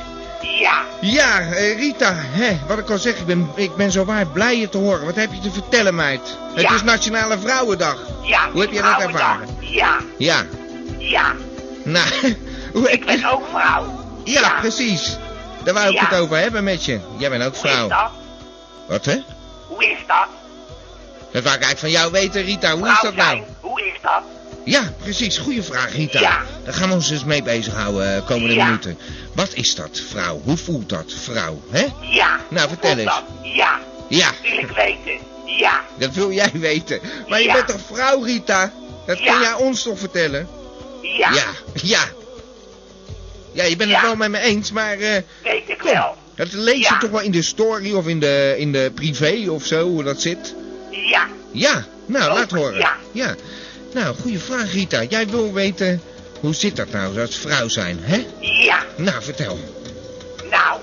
[SPEAKER 6] Ja,
[SPEAKER 2] Ja, eh, Rita, hè, wat ik al zeg, ik ben, ik ben zo waar blij je te horen. Wat heb je te vertellen, meid? Het
[SPEAKER 6] Ja.
[SPEAKER 2] is Nationale Vrouwendag.
[SPEAKER 6] ja.
[SPEAKER 2] Hoe heb je dat ervaren?
[SPEAKER 6] Ja,
[SPEAKER 2] Ja.
[SPEAKER 6] ja.
[SPEAKER 2] Nou, <laughs> hoe ik ben...
[SPEAKER 6] Ook vrouw.
[SPEAKER 2] Ja, precies. Daar wou ik
[SPEAKER 6] Ja.
[SPEAKER 2] het over hebben met je. Jij bent ook vrouw. Wat, hè?
[SPEAKER 6] Hoe is dat?
[SPEAKER 2] Dat wou ik eigenlijk van jou weten, Rita. Hoe is dat nou?
[SPEAKER 6] Hoe is dat?
[SPEAKER 2] Ja, precies. Goeie vraag, Rita.
[SPEAKER 6] Ja.
[SPEAKER 2] Daar gaan we ons eens mee bezighouden eh, komende
[SPEAKER 6] Ja.
[SPEAKER 2] minuten. Wat is dat, vrouw? Hoe voelt dat, vrouw? Hè?
[SPEAKER 6] Ja.
[SPEAKER 2] Nou, vertel
[SPEAKER 6] Hoe
[SPEAKER 2] eens.
[SPEAKER 6] komt dat? Ja,
[SPEAKER 2] Ja,
[SPEAKER 6] wil ik weten. Ja,
[SPEAKER 2] dat wil jij weten. Maar je
[SPEAKER 6] Ja.
[SPEAKER 2] bent toch vrouw, Rita? Dat
[SPEAKER 6] Ja.
[SPEAKER 2] kun jij ons toch vertellen?
[SPEAKER 6] ja,
[SPEAKER 2] ja. Ja, Ja, je bent
[SPEAKER 6] Ja.
[SPEAKER 2] het wel met me eens, maar... eh,
[SPEAKER 6] weet ik wel.
[SPEAKER 2] dat lees je
[SPEAKER 6] Ja.
[SPEAKER 2] toch wel in de story of in de, in de privé of zo, hoe dat zit?
[SPEAKER 6] Ja,
[SPEAKER 2] Ja, nou,
[SPEAKER 6] Ook,
[SPEAKER 2] laat horen.
[SPEAKER 6] ja.
[SPEAKER 2] Nou, goede vraag, Rita. Jij wil weten, hoe zit dat nou, dat vrouw zijn, hè?
[SPEAKER 6] ja.
[SPEAKER 2] Nou, vertel.
[SPEAKER 10] Nou,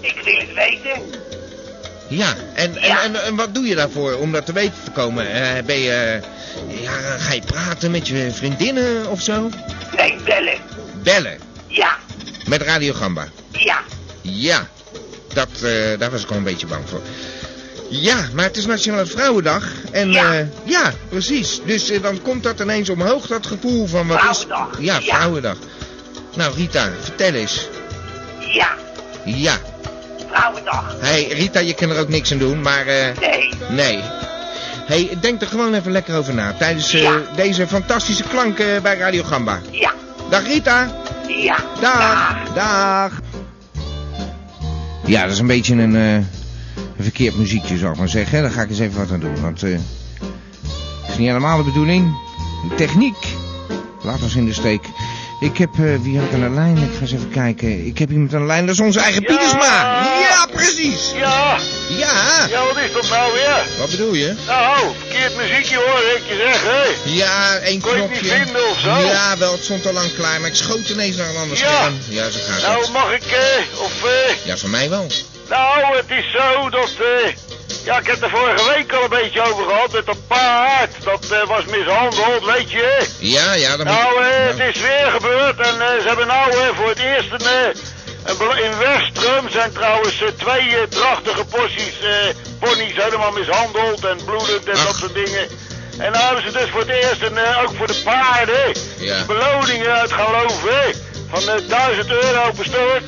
[SPEAKER 10] ik wil het weten.
[SPEAKER 2] Ja, en, en, En, en wat doe je daarvoor om dat te weten te komen? Eh, ben je, eh, ja, ga je praten met je vriendinnen of zo?
[SPEAKER 10] Nee, bellen.
[SPEAKER 2] Bellen?
[SPEAKER 10] Ja,
[SPEAKER 2] Met Radio Gamba?
[SPEAKER 10] ja.
[SPEAKER 2] Ja, dat, eh, daar was ik al een beetje bang voor. Ja, maar het is Nationale Vrouwendag. En ja, ja precies. Dus eh, dan komt dat ineens omhoog, dat gevoel van wat
[SPEAKER 10] Vrouwendag,
[SPEAKER 2] is... Ja,
[SPEAKER 10] ja.
[SPEAKER 2] Vrouwendag. Nou, Rita, vertel eens.
[SPEAKER 10] Ja,
[SPEAKER 2] Ja.
[SPEAKER 6] Nou,
[SPEAKER 10] vrouwendag.
[SPEAKER 2] Hé, hey, Rita, je kan er ook niks aan doen, maar... eh,
[SPEAKER 10] Nee.
[SPEAKER 2] Nee. hey, denk er gewoon even lekker over na. Tijdens eh, deze fantastische klanken bij Radio Gamba.
[SPEAKER 10] Ja.
[SPEAKER 2] Dag Rita.
[SPEAKER 10] Ja.
[SPEAKER 2] Dag. Dag. Ja, dat is een beetje een, eh, een verkeerd muziekje, zou ik maar zeggen. Daar ga ik eens even wat aan doen, want eh dat is niet helemaal de bedoeling. De techniek. Laat ons in de steek. Ik heb, eh, wie had ik aan de lijn? Ik ga eens even kijken. Ik heb iemand aan de lijn, dat is onze eigen Pietersma. Ja, precies.
[SPEAKER 5] Ja.
[SPEAKER 2] Ja.
[SPEAKER 5] Ja, wat is dat nou weer?
[SPEAKER 2] Wat bedoel je?
[SPEAKER 5] Nou, verkeerd muziekje hoor, ik je zeg, hé.
[SPEAKER 2] Ja, één
[SPEAKER 5] Kon je het
[SPEAKER 2] knopje.
[SPEAKER 5] niet vinden of zo?
[SPEAKER 2] Ja, wel, het stond al lang klaar, maar ik schoot ineens naar een ander
[SPEAKER 5] Ja.
[SPEAKER 2] scherm. Ja, zo gaat
[SPEAKER 5] Nou,
[SPEAKER 2] het.
[SPEAKER 5] mag ik, eh, of, eh,
[SPEAKER 2] Ja, voor mij wel.
[SPEAKER 5] nou, het is zo dat, eh, ja, ik heb er vorige week al een beetje over gehad met dat paard. Dat eh, was mishandeld, weet je. hè?
[SPEAKER 2] Ja, ja, dan moet
[SPEAKER 5] Nou, eh, het is weer gebeurd en eh, ze hebben nou eh, voor het eerst een, eh, een bela- in Westrum zijn trouwens eh, twee eh, drachtige porties eh ponies helemaal mishandeld en bloedend en dat soort dingen. En nou hebben ze dus voor het eerst en eh, ook voor de paarden
[SPEAKER 2] Ja.
[SPEAKER 5] beloningen uit gaan loven hè, van eh, 1000 euro per stuk.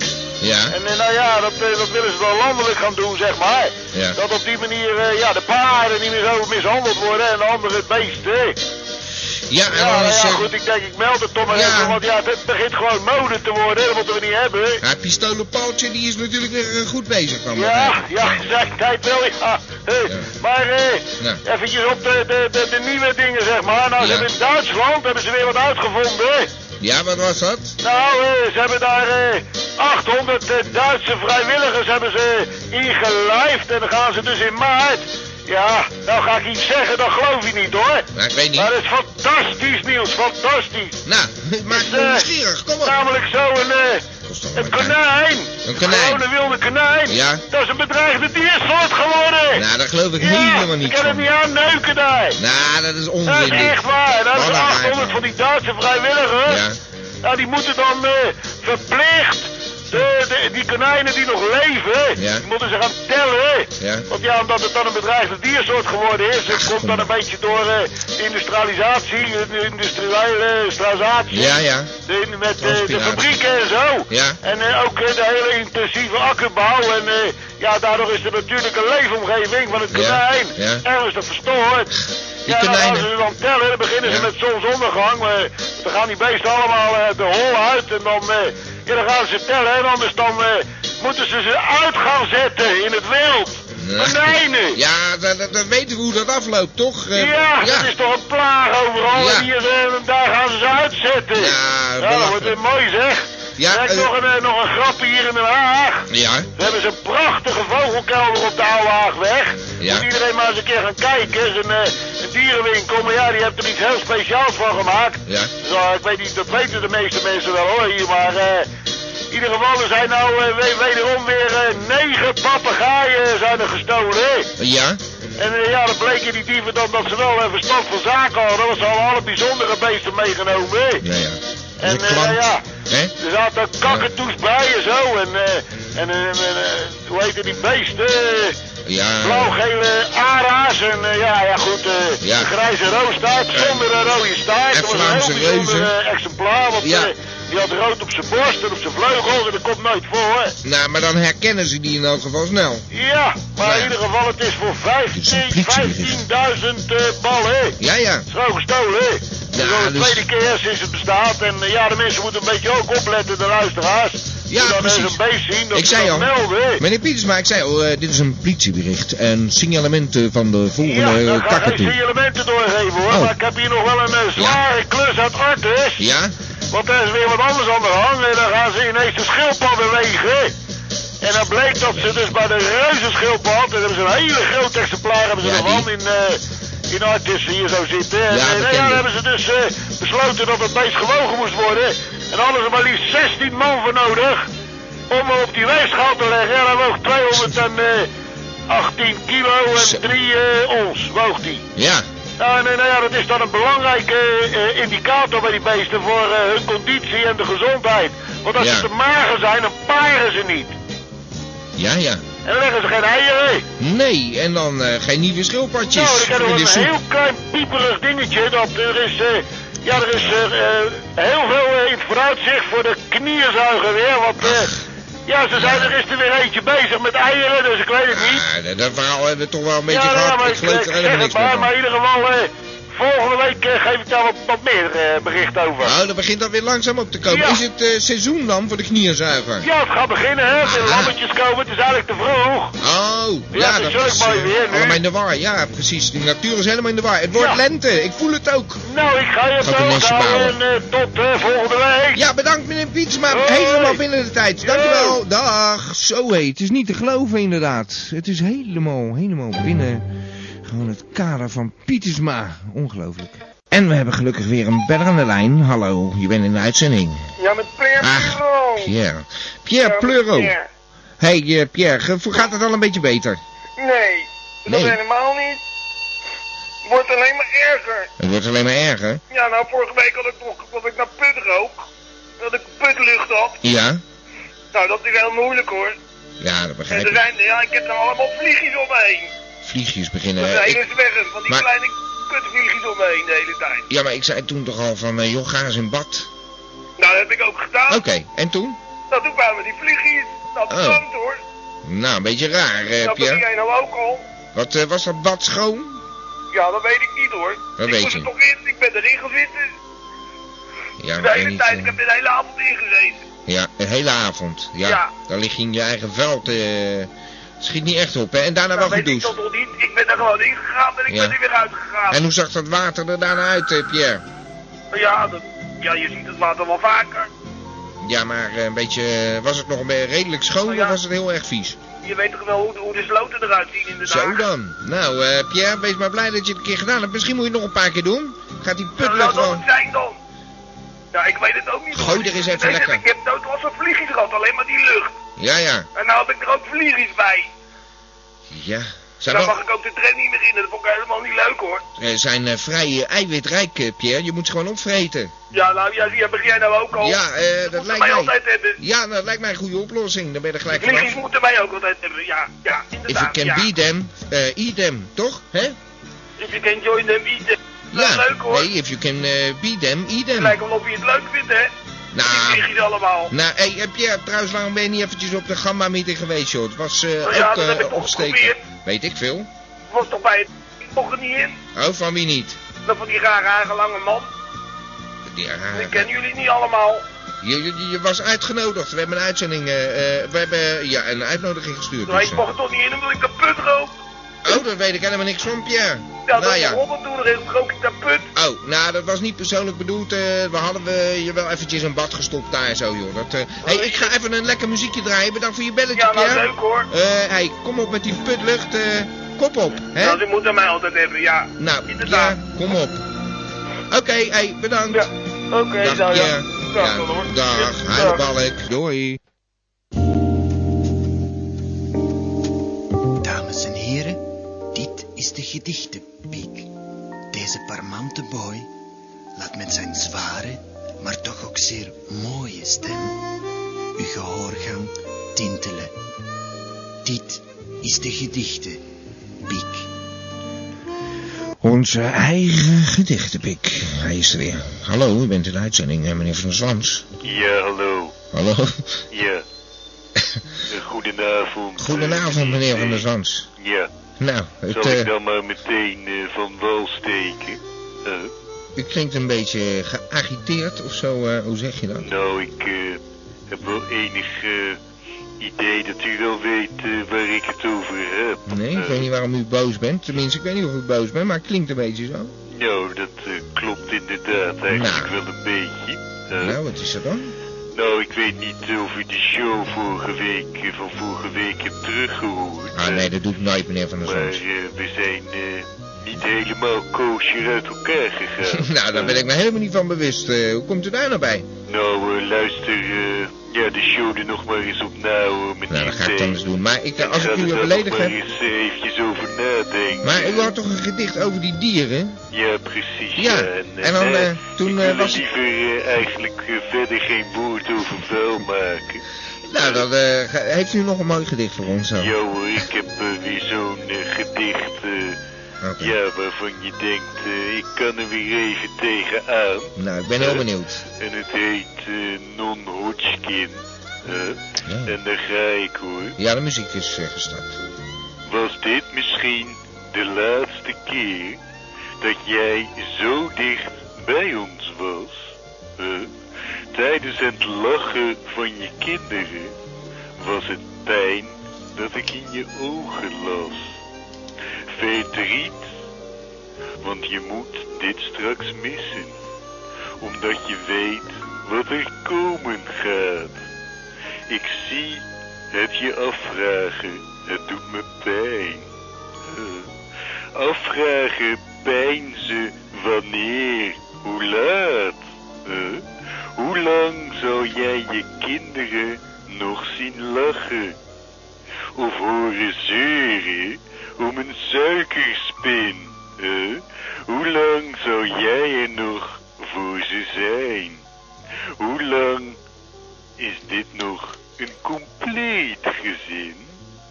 [SPEAKER 2] Ja.
[SPEAKER 5] En eh, nou ja, dat, eh, dat willen ze dan landelijk gaan doen, zeg maar.
[SPEAKER 2] Ja.
[SPEAKER 5] Dat op die manier eh, ja, de paarden niet meer zo mishandeld worden en de andere beesten.
[SPEAKER 2] Ja, en
[SPEAKER 5] ja,
[SPEAKER 2] alles, eh,
[SPEAKER 5] goed, ik denk, ik meld het toch maar
[SPEAKER 2] Ja.
[SPEAKER 5] even, want ja, het begint gewoon mode te worden, dat moeten we niet hebben.
[SPEAKER 2] Ja, pistolenpaaltje, die is natuurlijk weer eh, goed bezig dan.
[SPEAKER 5] Ja, ja, <laughs> zeg, tijd wel, ja. Hey, Maar eh,
[SPEAKER 2] Ja.
[SPEAKER 5] eventjes op de, de, de, de nieuwe dingen, zeg maar. Nou, ze
[SPEAKER 2] Ja.
[SPEAKER 5] hebben in Duitsland hebben ze weer wat uitgevonden.
[SPEAKER 2] Ja, wat was dat?
[SPEAKER 5] Nou, eh, ze hebben daar eh, 800 eh, Duitse vrijwilligers hebben ze ingelijfd. En dan gaan ze dus in maart. Ja, nou ga ik iets zeggen, dat geloof je niet hoor.
[SPEAKER 2] Maar ik weet niet.
[SPEAKER 5] Maar dat is fantastisch nieuws, fantastisch.
[SPEAKER 2] Nou, maak
[SPEAKER 5] me nieuwsgierig, kom op. Namelijk zo een, eh, een konijn.
[SPEAKER 2] Een konijn.
[SPEAKER 5] Gewoon een wilde konijn.
[SPEAKER 2] Ja.
[SPEAKER 5] Dat is een bedreigde diersoort geworden.
[SPEAKER 2] Nou, daar geloof ik helemaal niet
[SPEAKER 5] Ik kan het
[SPEAKER 2] van.
[SPEAKER 5] niet aan neuken daar.
[SPEAKER 2] Nou, dat is onzin.
[SPEAKER 5] Dat is
[SPEAKER 2] dit.
[SPEAKER 5] echt waar. Dat
[SPEAKER 2] Wat
[SPEAKER 5] is
[SPEAKER 2] een
[SPEAKER 5] 800 van die Duitse vrijwilligers.
[SPEAKER 2] Ja.
[SPEAKER 5] Nou, die moeten dan eh, verplicht. De, de- die konijnen die nog leven,
[SPEAKER 2] Ja.
[SPEAKER 5] die moeten ze gaan tellen.
[SPEAKER 2] Ja.
[SPEAKER 5] Want ja, omdat het dan een bedreigde diersoort geworden is, het komt dan een beetje door eh, industrialisatie, eh, industriële strasatie.
[SPEAKER 2] Ja, ja.
[SPEAKER 5] De, met eh, de
[SPEAKER 2] Transpiratie.
[SPEAKER 5] fabrieken en zo.
[SPEAKER 2] Ja.
[SPEAKER 5] En eh, ook eh, de hele intensieve akkerbouw. En eh, ja, daardoor is de natuurlijke leefomgeving van het
[SPEAKER 2] Ja,
[SPEAKER 5] konijn
[SPEAKER 2] ja.
[SPEAKER 5] ernstig verstoord.
[SPEAKER 2] Die
[SPEAKER 5] ja, dan gaan
[SPEAKER 2] konijnen.
[SPEAKER 5] ze dan tellen, dan beginnen ze met zonsondergang. eh, dan gaan die beesten allemaal eh, de hol uit en dan, eh, ja, dan gaan ze tellen. En anders dan eh, moeten ze ze uit gaan zetten in het wild.
[SPEAKER 2] Nou,
[SPEAKER 5] Konijnen!
[SPEAKER 2] Ja, dat, dat, dat weten we hoe dat afloopt, toch? Eh,
[SPEAKER 5] Ja, dat is toch een plaag overal.
[SPEAKER 2] Ja.
[SPEAKER 5] En hier, eh, daar gaan ze ze uitzetten. Ja, dat wordt eh, mooi zeg.
[SPEAKER 2] Ja,
[SPEAKER 5] Kijk,
[SPEAKER 2] eh,
[SPEAKER 5] nog, een, eh, nog een grapje hier in Den Haag.
[SPEAKER 2] Ja,
[SPEAKER 5] We hebben zo'n prachtige vogelkelder op de Oude Haagweg.
[SPEAKER 2] Ja.
[SPEAKER 5] Moet iedereen maar eens een keer gaan kijken. Het is een, eh, een dierenwinkel, maar ja, die hebt er iets heel speciaals van gemaakt.
[SPEAKER 2] ja.
[SPEAKER 5] Dus, eh, ik weet niet, dat weten de meeste mensen wel hoor hier, maar... eh, in ieder geval, er zijn nou eh, we- wederom weer eh, negen papegaaien zijn er gestolen.
[SPEAKER 2] Ja,
[SPEAKER 5] En eh, ja, dan bleken die dieven dan dat ze wel eh, verstand van zaken hadden, want ze hadden alle bijzondere beesten meegenomen. hè.
[SPEAKER 2] ja, ja.
[SPEAKER 5] En eh, nou ja, er zaten kakatoes bij en zo. En, eh, en eh, en, eh, hoe heette die beesten? Eh,
[SPEAKER 2] Ja.
[SPEAKER 5] Blauw-gele ara's en eh, ja, ja goed, eh,
[SPEAKER 2] Ja.
[SPEAKER 5] een grijze roosstaart zonder een rode staart.
[SPEAKER 2] en
[SPEAKER 5] Dat was een heel
[SPEAKER 2] Vlaamse
[SPEAKER 5] bijzonder
[SPEAKER 2] reuzen.
[SPEAKER 5] eh, exemplaar, want
[SPEAKER 2] Ja.
[SPEAKER 5] eh, die had rood op zijn borst en op zijn vleugels en dat komt nooit voor. hè.
[SPEAKER 2] Nou, maar dan herkennen ze die in elk geval snel.
[SPEAKER 5] Ja, maar in ieder geval, het is voor 15 15.000 eh ballen. hè.
[SPEAKER 2] Ja, ja.
[SPEAKER 5] Het is gewoon gestolen, hè? Het is al de
[SPEAKER 2] dus-
[SPEAKER 5] tweede keer sinds het bestaat. En eh, ja, de mensen moeten een beetje ook opletten, de luisteraars.
[SPEAKER 2] Ja,
[SPEAKER 5] Die dan eens
[SPEAKER 2] precies.
[SPEAKER 5] een beest zien, dat
[SPEAKER 2] ik
[SPEAKER 5] ze
[SPEAKER 2] zei
[SPEAKER 5] dat
[SPEAKER 2] al,
[SPEAKER 5] melden, hè.
[SPEAKER 2] meneer Pietersma, ik zei al, eh, dit is een politiebericht. En signalementen van de
[SPEAKER 5] Ja,
[SPEAKER 2] volgende
[SPEAKER 5] dan
[SPEAKER 2] ja,
[SPEAKER 5] ga ik geen
[SPEAKER 2] kakatoe.
[SPEAKER 5] signalementen doorgeven, hoor.
[SPEAKER 2] Oh.
[SPEAKER 5] Maar ik heb hier nog wel een eh, zware klus uit Artis.
[SPEAKER 2] Ja?
[SPEAKER 5] Want er is weer wat anders aan de hand. En dan gaan ze ineens de schildpadden wegen. En dan bleek dat ze dus bij de reuzenschildpad... Daar hebben ze een hele groot exemplaar hebben ze
[SPEAKER 2] Ja,
[SPEAKER 5] ervan in... eh in Artis hier zo zitten. En,
[SPEAKER 2] Ja,
[SPEAKER 5] eh,
[SPEAKER 2] dat
[SPEAKER 5] nou
[SPEAKER 2] ken
[SPEAKER 5] ja,
[SPEAKER 2] ik.
[SPEAKER 5] dan hebben ze dus eh, besloten dat het beest gewogen moest worden. En daar hadden ze maar liefst 16 man voor nodig. om me op die weegschaal te leggen. En hij woog 218 kilo en 3 eh ons woog die.
[SPEAKER 2] Ja.
[SPEAKER 5] Nou, en, eh, nou ja, dat is dan een belangrijke eh, eh, indicator bij die beesten voor eh, hun conditie en de gezondheid. Want als
[SPEAKER 2] Ja.
[SPEAKER 5] ze te mager zijn, dan paren ze niet.
[SPEAKER 2] Ja, ja.
[SPEAKER 5] En dan leggen ze geen eieren.
[SPEAKER 2] Nee, en dan eh, geen nieuwe schildpadjes.
[SPEAKER 5] Nou, ik heb
[SPEAKER 2] in de
[SPEAKER 5] nog een
[SPEAKER 2] soep.
[SPEAKER 5] heel klein pieperig dingetje. Dat er is, eh, ja, er is eh, eh, heel veel eh, in het vooruitzicht voor de knierzuiger weer. Want eh, ja, ze zijn er is er weer eentje bezig met eieren, dus ik weet het niet.
[SPEAKER 2] Ja, dat- dat verhaal hebben we toch wel een beetje
[SPEAKER 5] ja, nou,
[SPEAKER 2] gehad.
[SPEAKER 5] maar
[SPEAKER 2] ik geloof er
[SPEAKER 5] zeg
[SPEAKER 2] helemaal niks
[SPEAKER 5] het maar,
[SPEAKER 2] meer
[SPEAKER 5] maar
[SPEAKER 2] van.
[SPEAKER 5] in ieder geval, eh, volgende week eh, geef ik daar wat, wat meer eh, bericht over.
[SPEAKER 2] Nou, dan begint dat weer langzaam op te komen.
[SPEAKER 5] Ja.
[SPEAKER 2] Is het eh, seizoen dan voor de knierzuiger?
[SPEAKER 5] Ja, het gaat beginnen, hè. De lammetjes komen, het is eigenlijk te vroeg.
[SPEAKER 2] Oh, ja,
[SPEAKER 5] Ja, het is
[SPEAKER 2] dat
[SPEAKER 5] ook
[SPEAKER 2] is
[SPEAKER 5] mooi
[SPEAKER 2] eh,
[SPEAKER 5] weer nu.
[SPEAKER 2] allemaal in de war. Ja, precies. De natuur is helemaal in de war. Het wordt
[SPEAKER 5] Ja.
[SPEAKER 2] lente. Ik voel het ook.
[SPEAKER 5] Nou, ik ga je
[SPEAKER 2] Gaat
[SPEAKER 5] op
[SPEAKER 2] een
[SPEAKER 5] de hoogte
[SPEAKER 2] nestje
[SPEAKER 5] houden en
[SPEAKER 2] bouwen.
[SPEAKER 5] eh, tot eh, volgende week.
[SPEAKER 2] Ja, bedankt meneer Pietsma.
[SPEAKER 5] Hoi.
[SPEAKER 2] Helemaal binnen de tijd. Dankjewel. Dag. Zo heet. Het is niet te geloven inderdaad. Het is helemaal, helemaal binnen. Gewoon het kader van Pietersma. Ongelooflijk. En we hebben gelukkig weer een beller aan de lijn. Hallo, je bent in de uitzending.
[SPEAKER 7] Ja, met Pierre
[SPEAKER 2] Ach,
[SPEAKER 7] Pleuro.
[SPEAKER 2] Pierre. Pierre
[SPEAKER 7] Ja,
[SPEAKER 2] Pleuro.
[SPEAKER 7] Pierre.
[SPEAKER 2] hey, eh, Pierre, ge- gaat het al een beetje beter?
[SPEAKER 7] Nee, dat
[SPEAKER 2] Nee.
[SPEAKER 7] helemaal niet. Wordt alleen maar erger.
[SPEAKER 2] Het wordt alleen maar erger.
[SPEAKER 7] Ja, nou, vorige week had ik nog dat ik naar put rook. Dat ik putlucht had.
[SPEAKER 2] Ja?
[SPEAKER 7] Nou, dat is heel moeilijk hoor.
[SPEAKER 2] Ja, dat
[SPEAKER 7] En
[SPEAKER 2] begrijp
[SPEAKER 7] er
[SPEAKER 2] ik.
[SPEAKER 7] zijn, ja, ik heb er allemaal vliegjes omheen.
[SPEAKER 2] Vliegjes
[SPEAKER 7] Dat
[SPEAKER 2] beginnen.
[SPEAKER 7] zijn
[SPEAKER 2] Ik-
[SPEAKER 7] hele zwergen van die
[SPEAKER 2] maar-
[SPEAKER 7] kleine kutvliegjes omheen de hele tijd.
[SPEAKER 2] ja, maar ik zei toen toch al van, eh, joh, ga eens in bad.
[SPEAKER 7] Nou, dat heb ik ook gedaan.
[SPEAKER 2] Oké, en toen?
[SPEAKER 7] Nou, toen kwamen die vliegjes. Nou,
[SPEAKER 2] Oh.
[SPEAKER 7] bedankt hoor.
[SPEAKER 2] Nou, een beetje raar, eh,
[SPEAKER 7] dat
[SPEAKER 2] Pierre.
[SPEAKER 7] doe jij nou ook al.
[SPEAKER 2] Wat eh, was dat bad schoon?
[SPEAKER 7] Ja, dat weet ik niet hoor.
[SPEAKER 2] Dat
[SPEAKER 7] ik
[SPEAKER 2] weet
[SPEAKER 7] moest
[SPEAKER 2] je
[SPEAKER 7] er toch in, ik ben erin gezeten.
[SPEAKER 2] Ja,
[SPEAKER 7] de
[SPEAKER 2] maar
[SPEAKER 7] hele
[SPEAKER 2] niet,
[SPEAKER 7] tijd,
[SPEAKER 2] eh,
[SPEAKER 7] ik heb de hele avond ingezeten.
[SPEAKER 2] ja, een hele avond. Ja,
[SPEAKER 7] Ja.
[SPEAKER 2] Dan lig je in je eigen veld. eh schiet niet echt op, hè? En daarna
[SPEAKER 7] dat
[SPEAKER 2] wel
[SPEAKER 7] weet ik
[SPEAKER 2] gedoucht.
[SPEAKER 7] toch nog niet. Ik ben er gewoon ingegaan en ik
[SPEAKER 2] Ja.
[SPEAKER 7] ben er weer uitgegaan.
[SPEAKER 2] En hoe zag dat water er daarna uit, eh, Pierre?
[SPEAKER 7] Ja, dat, ja, je ziet het water wel vaker.
[SPEAKER 2] Ja, maar eh, een beetje... eh, was het nog een beetje redelijk schoon
[SPEAKER 7] Oh,
[SPEAKER 2] of was het heel erg vies?
[SPEAKER 7] Je weet toch wel hoe, hoe de sloten eruit zien in de
[SPEAKER 2] Zo
[SPEAKER 7] dagen.
[SPEAKER 2] dan. Nou, eh, Pierre, wees maar blij dat je het een keer gedaan hebt. Misschien moet je het nog een paar keer doen. Gaat die
[SPEAKER 7] Nou,
[SPEAKER 2] putlucht
[SPEAKER 7] laat dat
[SPEAKER 2] gewoon...
[SPEAKER 7] het zijn dan. Ja, ik weet het ook niet.
[SPEAKER 2] Gooi er eens even
[SPEAKER 7] Nee,
[SPEAKER 2] lekker.
[SPEAKER 7] Ik heb nooit was een vliegjes gehad, alleen maar die lucht.
[SPEAKER 2] Ja, Ah, ja.
[SPEAKER 7] En nou heb ik er ook vliegjes bij.
[SPEAKER 2] Ja. Zijn,
[SPEAKER 7] Dan
[SPEAKER 2] wel,
[SPEAKER 7] mag ik ook de tram niet meer in, dat vond ik helemaal niet leuk hoor.
[SPEAKER 2] eh, zijn eh, vrij eh, eiwitrijk, eh, Pierre. Je moet ze gewoon opvreten.
[SPEAKER 7] Ja, nou, ja, zie, begin jij nou ook al.
[SPEAKER 2] Ja, eh, dat lijkt
[SPEAKER 7] moeten wij
[SPEAKER 2] mij-
[SPEAKER 7] altijd hebben.
[SPEAKER 2] Ja, nou, dat lijkt mij een goede oplossing. Dan ben je er gelijk
[SPEAKER 7] Vliegjes
[SPEAKER 2] vanaf.
[SPEAKER 7] moeten wij ook altijd hebben, ja. Ja,
[SPEAKER 2] If you
[SPEAKER 7] inderdaad,
[SPEAKER 2] can
[SPEAKER 7] ja.
[SPEAKER 2] be them, eh, eat them, toch? Hè?
[SPEAKER 7] If you can join them, eat them. Dat is
[SPEAKER 2] Ja.
[SPEAKER 7] leuk hoor.
[SPEAKER 2] Nee, if you can eh, be them, eat
[SPEAKER 7] Het
[SPEAKER 2] them.
[SPEAKER 7] lijkt wel of je het leuk vindt, hè. Die
[SPEAKER 2] Nou,
[SPEAKER 7] vliegjes allemaal.
[SPEAKER 2] nou hey, heb je trouwens lang ben je niet eventjes op de Gamma-meeting geweest, joh? Het was eh,
[SPEAKER 7] Nou ja,
[SPEAKER 2] ook
[SPEAKER 7] dat heb ik
[SPEAKER 2] eh
[SPEAKER 7] toch
[SPEAKER 2] opsteken.
[SPEAKER 7] geprobeerd.
[SPEAKER 2] Weet ik veel.
[SPEAKER 7] Ik was toch bij het... Ik mocht er niet in.
[SPEAKER 2] Oh, van wie niet?
[SPEAKER 7] Dat van die rare, rare lange man.
[SPEAKER 2] Die
[SPEAKER 7] Ik
[SPEAKER 2] rare-
[SPEAKER 7] ken jullie niet allemaal.
[SPEAKER 2] eh, Je, je, je was uitgenodigd. We hebben een uitzending, eh, eh, we hebben ja, een uitnodiging gestuurd.
[SPEAKER 7] Maar
[SPEAKER 2] dus,
[SPEAKER 7] Nou, ik
[SPEAKER 2] eh.
[SPEAKER 7] mocht er toch niet in omdat ik een put rook.
[SPEAKER 2] Oh, dat weet ik helemaal niks van, Pierre.
[SPEAKER 7] Ja, dat
[SPEAKER 2] nou
[SPEAKER 7] is
[SPEAKER 2] ja.
[SPEAKER 7] Robert toen erin rook ik dat put.
[SPEAKER 2] Oh, nou, dat was niet persoonlijk bedoeld. eh, we hadden we je wel eventjes een bad gestopt daar en zo, joh. Dat, eh, hey, ik ga even een lekker muziekje draaien. Bedankt voor je belletje,
[SPEAKER 7] Ja, nou
[SPEAKER 2] Pierre.
[SPEAKER 7] leuk hoor.
[SPEAKER 2] Eh, hey, kom op met die putlucht. eh, kop op, hè?
[SPEAKER 7] Nou, die moeten mij altijd hebben, ja.
[SPEAKER 2] nou,
[SPEAKER 7] inderdaad.
[SPEAKER 2] ja, kom op. Oké, hey, bedankt.
[SPEAKER 7] Oké,
[SPEAKER 2] Dag,
[SPEAKER 7] nou ja.
[SPEAKER 2] Pierre.
[SPEAKER 7] Dag,
[SPEAKER 2] Ja,
[SPEAKER 7] dan, hoor.
[SPEAKER 2] dag,
[SPEAKER 7] Ja,
[SPEAKER 2] heile balk. Doei.
[SPEAKER 11] Dames en heren, dit is de gedichtenpiek. Deze parmante boy laat met zijn zware, maar toch ook zeer mooie stem uw gehoorgang tintelen. Dit is de gedichtenpiek.
[SPEAKER 2] Onze eigen gedichtenpik. Hij is er weer. Hallo, u bent in de uitzending, eh, meneer Van der Zwans.
[SPEAKER 12] Ja, hallo.
[SPEAKER 2] Hallo. <laughs> <coughs>
[SPEAKER 12] Ja. Eh, Goedenavond.
[SPEAKER 2] Goedenavond, meneer Van der Zwans.
[SPEAKER 12] Ja.
[SPEAKER 2] Nou, het,
[SPEAKER 12] Zal ik
[SPEAKER 2] eh,
[SPEAKER 12] dan maar meteen eh, van wal steken? Eh,
[SPEAKER 2] u klinkt een beetje geagiteerd of zo. eh, hoe zeg je dat?
[SPEAKER 12] nou, ik eh, heb wel enig eh, idee dat u wel weet eh, waar ik het over heb.
[SPEAKER 2] Nee, ik
[SPEAKER 12] Eh,
[SPEAKER 2] weet niet waarom u boos bent. Tenminste, ik weet niet of u boos bent, maar het klinkt een beetje zo.
[SPEAKER 12] Nou, dat eh, klopt inderdaad eigenlijk wel een beetje. Eh,
[SPEAKER 2] Nou, wat is er dan?
[SPEAKER 12] nou, ik weet niet eh, of u de show vorige week, eh, van vorige week hebt teruggehoord.
[SPEAKER 2] Ah, nee, dat doet nooit, meneer Van der
[SPEAKER 12] Maar
[SPEAKER 2] Zwans.
[SPEAKER 12] eh, we zijn eh, niet helemaal koosje uit elkaar gegaan.
[SPEAKER 2] <laughs> nou, daar ben ik me helemaal niet van bewust. Eh, hoe komt u daar nou bij?
[SPEAKER 12] Nou, eh, luister, eh, Ja, de show er nog maar eens eh, op na hoor, met
[SPEAKER 2] Nou,
[SPEAKER 12] die
[SPEAKER 2] dat ga ik
[SPEAKER 12] thee.
[SPEAKER 2] dan eens doen. Maar ik, eh, als
[SPEAKER 12] Ga
[SPEAKER 2] ik
[SPEAKER 12] er dan
[SPEAKER 2] u weer beledigd
[SPEAKER 12] nog maar
[SPEAKER 2] heb...
[SPEAKER 12] eens eh, eventjes over nadenken.
[SPEAKER 2] Maar u had toch een gedicht over die dieren?
[SPEAKER 12] Ja, precies.
[SPEAKER 2] Ja,
[SPEAKER 12] eh,
[SPEAKER 2] en dan,
[SPEAKER 12] nou,
[SPEAKER 2] eh, toen,
[SPEAKER 12] ik
[SPEAKER 2] eh,
[SPEAKER 12] wil er
[SPEAKER 2] was-
[SPEAKER 12] liever eh, eigenlijk eh, verder geen woord over vuil maken.
[SPEAKER 2] Nou, dan eh, ge- heeft u nog een mooi gedicht voor ons zo.
[SPEAKER 12] Ja hoor, ik heb eh, weer zo'n eh, gedicht. eh,
[SPEAKER 2] Oké.
[SPEAKER 12] Ja, waarvan je denkt, eh, ik kan er weer even tegenaan.
[SPEAKER 2] Nou, ik ben heel benieuwd.
[SPEAKER 12] En het heet eh, Non-Hodgkin. Eh,
[SPEAKER 2] Ja.
[SPEAKER 12] En daar ga ik hoor.
[SPEAKER 2] Ja, de muziek is eh, gestart.
[SPEAKER 12] Was dit misschien de laatste keer dat jij zo dicht bij ons was? Eh, Tijdens het lachen van je kinderen was het pijn dat ik in je ogen las. Verdriet, want je moet dit straks missen, omdat je weet wat er komen gaat. Ik zie het je afvragen, het doet me pijn. Eh, Afvragen, pijnzen, wanneer, hoe laat? Eh, Hoe lang zal jij je kinderen nog zien lachen? Of horen zeuren om een suikerspin? Eh, Hoe lang zal jij er nog voor ze zijn? Hoe lang is dit nog een compleet gezin?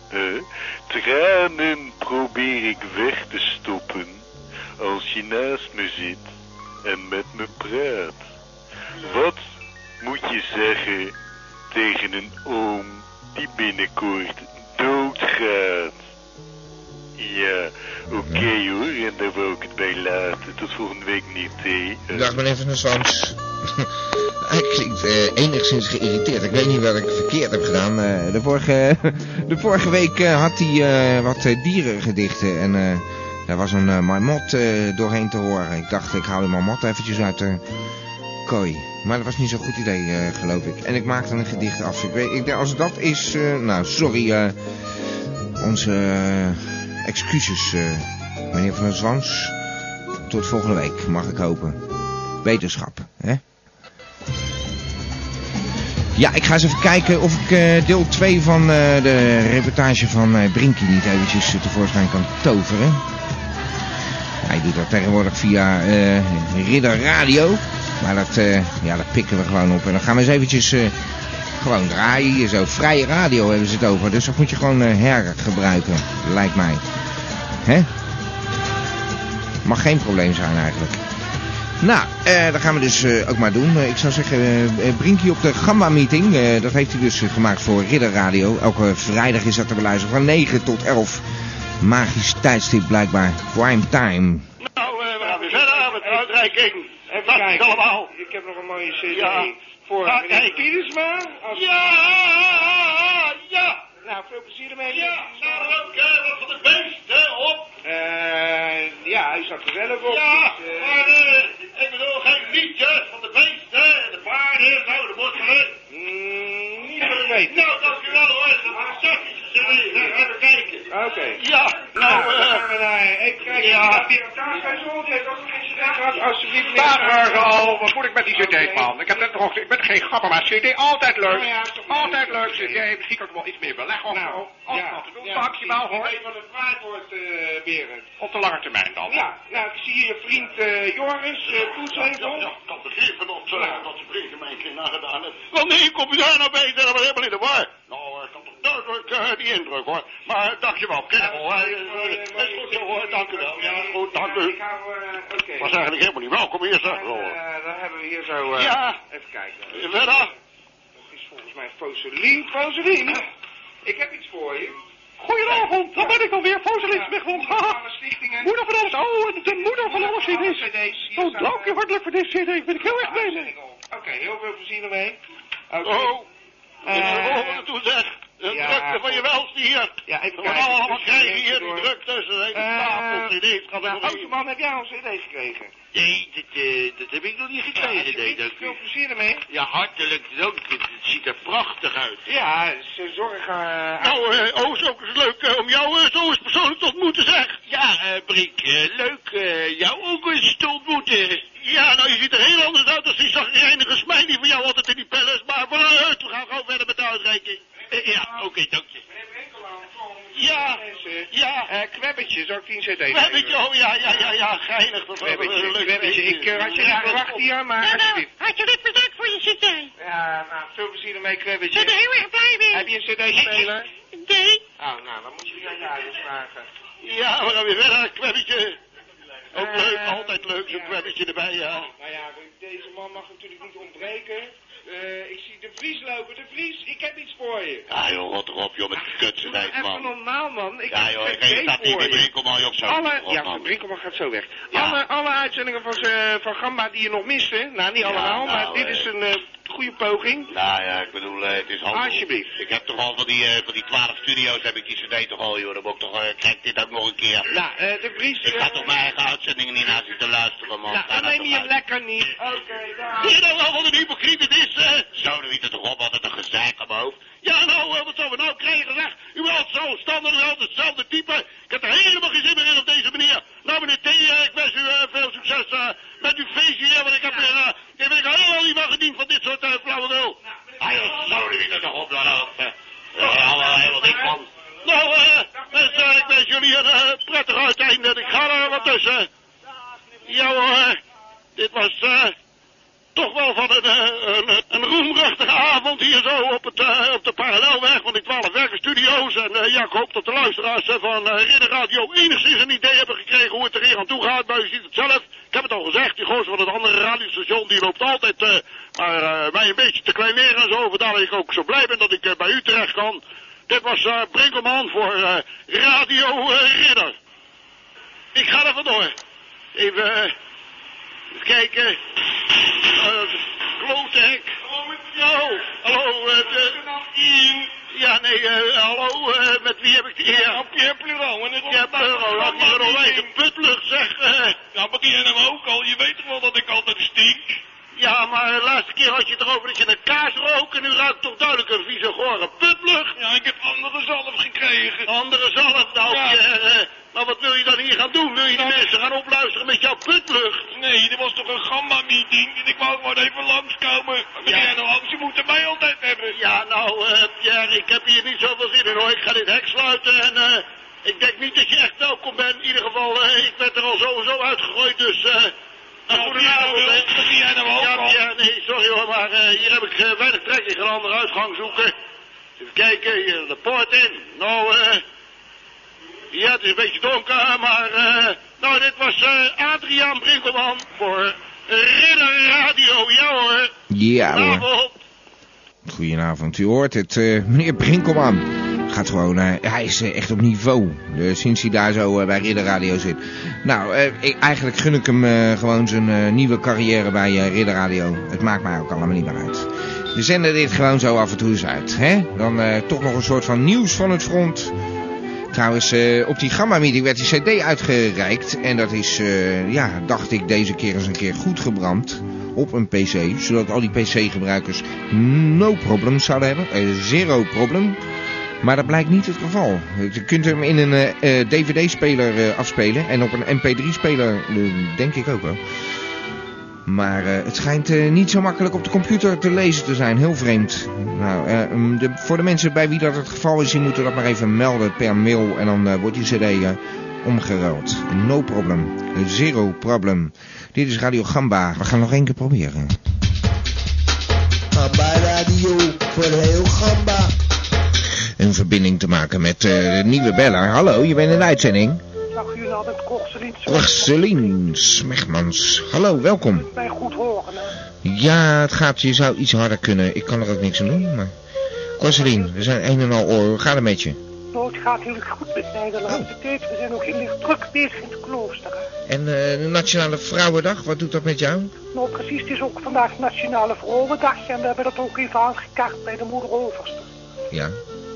[SPEAKER 12] hè? tranen probeer ik weg te stoppen als je naast me zit en met me praat. Wat moet je zeggen tegen een oom die binnenkort doodgaat? Ja, oké hoor, en daar wil ik het bij laten. Tot volgende week niet, hè?
[SPEAKER 2] Dag meneer Van der Swans. <laughs> Hij klinkt eh, enigszins geïrriteerd. Ik weet niet wat ik verkeerd heb gedaan. Eh, de, vorige, <laughs> de vorige week eh, had hij eh, wat eh, dierengedichten. En eh, daar was een eh, marmot eh, doorheen te horen. Ik dacht, ik haal die marmot eventjes uit de kooi. Maar dat was niet zo'n goed idee, eh, geloof ik. En ik maakte een gedicht af. Ik weet, ik, denk, als dat is... eh, nou, sorry. eh, onze eh, excuses, eh, meneer Van der Zwans. Tot volgende week, mag ik hopen. Wetenschap, hè? Ja, ik ga eens even kijken of ik eh, deel 2 van eh, de reportage van eh Brinkie niet eventjes eh, tevoorschijn kan toveren. Hij doet dat tegenwoordig via eh, Ridder Radio. Maar dat, eh, ja, dat pikken we gewoon op. En dan gaan we eens eventjes eh, gewoon draaien. hier Zo vrije radio hebben ze het over. Dus dat moet je gewoon eh, hergebruiken, lijkt mij. Hè? Mag geen probleem zijn eigenlijk. Nou, eh, dat gaan we dus eh, ook maar doen. Eh, ik zou zeggen, eh, eh, Brinkie op de Gamba-meeting. eh, dat heeft hij dus eh, gemaakt voor Ridder Radio. Elke vrijdag is dat te beluisteren van 9 tot 11. Magisch tijdstip blijkbaar. Prime time.
[SPEAKER 4] Nou, eh, we gaan weer verder aan met de uitreiking.
[SPEAKER 7] Even
[SPEAKER 4] Dat is
[SPEAKER 7] kijken.
[SPEAKER 4] allemaal.
[SPEAKER 7] Ik heb nog een mooie CD
[SPEAKER 4] Ja.
[SPEAKER 7] voor
[SPEAKER 4] Ah,
[SPEAKER 7] meneer
[SPEAKER 4] kijk.
[SPEAKER 7] Pietersma. Als...
[SPEAKER 4] Ja, ja.
[SPEAKER 7] Nou, veel plezier ermee.
[SPEAKER 4] Ja, nou, ook, eh, wat voor de beesten op.
[SPEAKER 7] Eh, ja, hij zat er zelf op.
[SPEAKER 4] Ja,
[SPEAKER 7] dus, eh,
[SPEAKER 4] maar eh, ik bedoel geen liedjes van de beesten en de paarden nou, en zo, de mosselen. Mm,
[SPEAKER 7] niet dat ik weet.
[SPEAKER 4] Nou, dankjewel hoor, dat was fantastisch. Zullen we even kijken?
[SPEAKER 7] Oké.
[SPEAKER 4] Ja,
[SPEAKER 7] Nou,
[SPEAKER 4] nou,
[SPEAKER 7] dan
[SPEAKER 4] eh,
[SPEAKER 7] gaan we naar... Ik krijg
[SPEAKER 4] ja.
[SPEAKER 7] ja. hier een dus kaas uit zon. Die heeft ook nog geen CD gehad. Alsjeblieft, meneer.
[SPEAKER 8] Dag, al. eh, oh, wat moet ik met die cd, man? Ik, heb net nog, ik ben geen grapper, maar cd altijd leuk.
[SPEAKER 7] Nou ja, toch maar
[SPEAKER 8] Altijd
[SPEAKER 7] leuk,
[SPEAKER 8] leuk
[SPEAKER 7] zo'n
[SPEAKER 8] cd, misschien kan ik wel iets meer beleggen of
[SPEAKER 7] Nou,
[SPEAKER 8] zo. Als
[SPEAKER 7] ja,
[SPEAKER 8] wat te doen,
[SPEAKER 7] ja,
[SPEAKER 8] maximaal
[SPEAKER 7] precies.
[SPEAKER 8] hoor.
[SPEAKER 7] Ik weet wat het waard wordt, eh, Berend.
[SPEAKER 8] Op de lange termijn dan.
[SPEAKER 7] Ja, nou, ik zie je vriend eh, Joris eh Toetshevel.
[SPEAKER 4] Ja, ik kan begrepen dat, eh, dat de vrienden mij een keer nagedaan hebben. Wanneer kom je daar nou bij? Dat was helemaal in de war. Nou, ik had toch duidelijk eh, die indruk hoor. Maar eh, dankjewel, kerel. hè. Eh, eh, Is goed zo hoor, dank u wel. Ja, is goed, dank u.
[SPEAKER 7] Ik hou, eh, Oké.
[SPEAKER 4] Was eigenlijk helemaal niet welkom hier, zeg.
[SPEAKER 7] En,
[SPEAKER 4] hoor.
[SPEAKER 7] eh, dan hebben we hier zo... eh,
[SPEAKER 4] Ja.
[SPEAKER 7] Even kijken.
[SPEAKER 4] Eh, Verder?
[SPEAKER 7] Dat is volgens mij Foselien. Foselien? Ik heb iets voor je.
[SPEAKER 8] Goedenavond, daar ben ik alweer, Foselis Wegwond. Haha.
[SPEAKER 7] Stichtingen.
[SPEAKER 8] Moeder van alles, oh, de moeder van alle cd's. Oh, dank u hartelijk voor deze cd, ben ik heel erg blij mee.
[SPEAKER 7] Oké, heel veel plezier ermee.
[SPEAKER 4] Oh,
[SPEAKER 7] Eh,
[SPEAKER 4] ik wil er naartoe zeg. De
[SPEAKER 7] ja,
[SPEAKER 4] drukte van je welste hier.
[SPEAKER 7] Ja, even
[SPEAKER 4] We
[SPEAKER 7] kijken,
[SPEAKER 4] gaan allemaal
[SPEAKER 7] dus
[SPEAKER 4] krijgen
[SPEAKER 7] even
[SPEAKER 4] hier
[SPEAKER 7] door.
[SPEAKER 4] die drukte. Ze zijn
[SPEAKER 7] Eh,
[SPEAKER 4] tafel, cd's. Gaat
[SPEAKER 7] Nou, oh,
[SPEAKER 4] er
[SPEAKER 7] Oosterman, heb jij al een cd gekregen?
[SPEAKER 13] Nee, dat, eh, dat heb ik nog niet
[SPEAKER 7] Nou,
[SPEAKER 13] gekregen, nee,
[SPEAKER 7] alsjeblieft,
[SPEAKER 13] dank
[SPEAKER 7] Veel
[SPEAKER 13] u.
[SPEAKER 7] plezier ermee.
[SPEAKER 13] Ja, hartelijk dank. Het, het ziet er prachtig uit.
[SPEAKER 7] Ja, ze zorgen... eh,
[SPEAKER 4] Nou, eh, oh, zo is leuk eh, om jou eh, zo eens persoonlijk te ontmoeten, zeg.
[SPEAKER 13] Ja, eh Brink, eh, leuk eh, jou ook eens te ontmoeten.
[SPEAKER 4] Ja, nou, je ziet er heel anders uit als die zagrijnige smijn die van jou altijd in die palace. Maar vooruit, we gaan gewoon verder met de uitreiking. Eh, Ja, oké, dank je. Ja, ja.
[SPEAKER 5] Eh, kwebbetje, zou ik die een cd
[SPEAKER 4] We hebben het, oh ja, ja, ja, ja, geinig. Dat was
[SPEAKER 5] Kwebbetje,
[SPEAKER 4] een leuk
[SPEAKER 5] kwebbetje. Ik eh, had je
[SPEAKER 4] Ja, nou,
[SPEAKER 5] niet verwacht hier, maar alsjeblieft.
[SPEAKER 14] Hartelijk bedankt voor Nou, je cd.
[SPEAKER 5] Ja, nou, veel plezier ermee,
[SPEAKER 14] Ik
[SPEAKER 5] kwebbetje.
[SPEAKER 14] ben er heel erg blij mee.
[SPEAKER 5] Heb je een cd-speler?
[SPEAKER 14] Nee.
[SPEAKER 5] Oh, nou, dan moet je die aan Darius vragen.
[SPEAKER 4] Ja, we gaan weer verder, kwebbetje. Ook
[SPEAKER 5] Eh,
[SPEAKER 4] leuk, altijd leuk, zo'n kwebbetje erbij, ja.
[SPEAKER 15] Nou ja, deze man mag natuurlijk niet ontbreken. Eh, ik zie de Vries lopen. De Vries, ik heb iets voor je.
[SPEAKER 16] Ja joh, rot erop joh, met kutsenheid
[SPEAKER 15] Even
[SPEAKER 16] man.
[SPEAKER 15] normaal, man. Ik
[SPEAKER 16] Ja
[SPEAKER 15] heb
[SPEAKER 16] joh,
[SPEAKER 15] geen
[SPEAKER 16] ik
[SPEAKER 15] idee
[SPEAKER 16] staat hier
[SPEAKER 15] voor
[SPEAKER 16] de
[SPEAKER 15] je.
[SPEAKER 16] winkelman op zo'n
[SPEAKER 5] Alle, ja,
[SPEAKER 16] man.
[SPEAKER 5] Van Brinkelman gaat zo weg. Alle, alle uitzendingen van, z'n- van Gamba die je nog miste, nou niet
[SPEAKER 16] Ja,
[SPEAKER 5] allemaal,
[SPEAKER 16] nou,
[SPEAKER 5] maar dit
[SPEAKER 16] eh.
[SPEAKER 5] is een eh, goede poging.
[SPEAKER 16] Nou ja, ik bedoel, eh, het is handig.
[SPEAKER 5] Alsjeblieft.
[SPEAKER 16] Ik heb toch al van die, eh, van die 12 studio's heb ik die cd toch al joh, dan moet ik toch, eh, kijk dit ook nog een keer.
[SPEAKER 5] Nou, eh, de Vries...
[SPEAKER 16] Ik ga toch mijn eigen uitzendingen niet naar zitten luisteren man.
[SPEAKER 5] Nou,
[SPEAKER 16] Ga
[SPEAKER 5] dan neem je hem lekker niet. Oké,
[SPEAKER 4] Zie je nou wel wat een hypocriet het is, hè?
[SPEAKER 16] Zo, dan er toch op, altijd een gezeik aan mijn hoofd.
[SPEAKER 4] Ja, nou, eh, wat zouden we nou krijgen, zeg? U bent altijd zo standaard, u bent altijd hetzelfde type. Ik heb er helemaal geen zin meer in op deze manier. Nou, meneer T, eh, ik wens u eh, veel succes eh, met uw feestje hier, want ik heb weer, eh, ik ben er helemaal niet van gediend van dit soort eh, flauwekul.
[SPEAKER 16] Ah joh, zo, dan er toch op, dan ook. eh. Eh, allemaal helemaal dik man.
[SPEAKER 4] Nou, eh, mensen, ik wens jullie een eh, prettig uiteinde. Ik ga er wat tussen. Ja hoor, dit was eh, toch wel van een, eh, een, een roemruchtige avond hier zo op, het, eh, op de parallelweg van die 12 werkenstudio's. En eh, ja, ik hoop dat de luisteraars eh, van eh Ridder Radio enigszins een idee hebben gekregen hoe het er hier aan toe gaat. Maar u ziet het zelf, ik heb het al gezegd, die gozer van het andere radiostation die loopt altijd eh, maar, eh, mij een beetje te kleineren en zo. Vandaar dat ik ook zo blij ben dat ik eh, bij u terecht kan. Dit was eh Brinkelman voor eh, Radio eh, Ridder. Ik ga er vandoor. Even, eh, even kijken. Eh klote hek. Hallo, hallo. eh, de- ja, nee, eh, hallo. eh, met wie heb ik de eer? Pierre Plural. Pierre Plural. Laat me er al een putlucht zeg. Nou, maar ken hem ook al. Je weet toch wel dat ik altijd stink? Ja, maar de laatste keer had je het erover dat je een kaas rook en nu ruikt toch duidelijk een vieze gore putlucht. Ja, ik heb andere zalf gekregen. Andere zalf, nou,
[SPEAKER 16] Ja.
[SPEAKER 4] Pierre, eh, maar wat wil je dan hier gaan doen? Wil je die mensen gaan opluisteren met jouw putlucht? Nou. Nee, er was toch een gamma-meeting en ik wou gewoon even langskomen. Ja, nou, ze moeten mij altijd hebben. Ja, nou, eh, Pierre, ik heb hier niet zoveel zin in hoor. Ik ga dit hek sluiten en eh, ik denk niet dat je echt welkom bent. In ieder geval, eh, ik werd er al sowieso uitgegooid, dus... eh nou, goedenavond, hè. Ja, Pierre, nee, sorry hoor, maar eh, hier heb ik eh, weinig trek in. Ik ga een andere uitgang zoeken. Even kijken, hier de poort in. Nou, eh... Ja, het is een beetje donker, maar... eh, nou, dit was eh, Adriaan Brinkelman voor Ridder Radio. Ja hoor.
[SPEAKER 2] Ja hoor.
[SPEAKER 4] Goedenavond.
[SPEAKER 2] Goedenavond, u hoort het. eh, meneer Brinkelman gaat gewoon... eh, hij is eh, echt op niveau. eh, sinds hij daar zo eh, bij Ridder Radio zit. Nou, eh, ik, eigenlijk gun ik hem eh, gewoon zijn eh, nieuwe carrière bij eh, Ridder Radio. Het maakt mij ook allemaal niet meer uit. We zenden dit gewoon zo af en toe eens uit. Hè? Dan eh, toch nog een soort van nieuws van het front. Trouwens, eh, op die Gamma-meeting werd die cd uitgereikt. En dat is, eh, ja, dacht ik, deze keer eens een keer goed gebrand op een pc. Zodat al die pc-gebruikers no problem zouden hebben. Eh, zero problem. Maar dat blijkt niet het geval. Je kunt hem in een eh, eh, dvd-speler eh, afspelen. En op een mp3-speler, eh, denk ik ook wel. Maar eh, het schijnt eh, niet zo makkelijk op de computer te lezen te zijn. Heel vreemd. Nou, eh, mm, de- voor de mensen bij wie dat het geval is, die moeten dat maar even melden per mail. En dan eh, wordt die cd eh, omgeruild. No problem. Zero problem. Dit is Radio Gamba. We gaan nog één keer proberen.
[SPEAKER 17] Gamba Radio voor heel Gamba.
[SPEAKER 2] Een verbinding te maken met eh, de nieuwe beller. Hallo, je bent in de uitzending.
[SPEAKER 18] Dag jullie hadden Korselien
[SPEAKER 2] Corselien Smegmans. Hallo, welkom.
[SPEAKER 18] mij goed horen. hè?
[SPEAKER 2] Ja, het gaat. Je zou iets harder kunnen. Ik kan er ook niks aan doen, maar... Corselien, we zijn een en al oor. Hoe gaat het met je?
[SPEAKER 18] Nou, het gaat heel goed met mij de
[SPEAKER 2] Oh.
[SPEAKER 18] laatste tijd. We zijn ook heel erg druk bezig in het klooster. hè.
[SPEAKER 2] En eh, de Nationale Vrouwendag, wat doet dat met jou?
[SPEAKER 18] Nou, precies, het is ook vandaag Nationale Vrouwendag en we hebben dat ook even aangekaart bij de moeder overste.
[SPEAKER 2] Ja.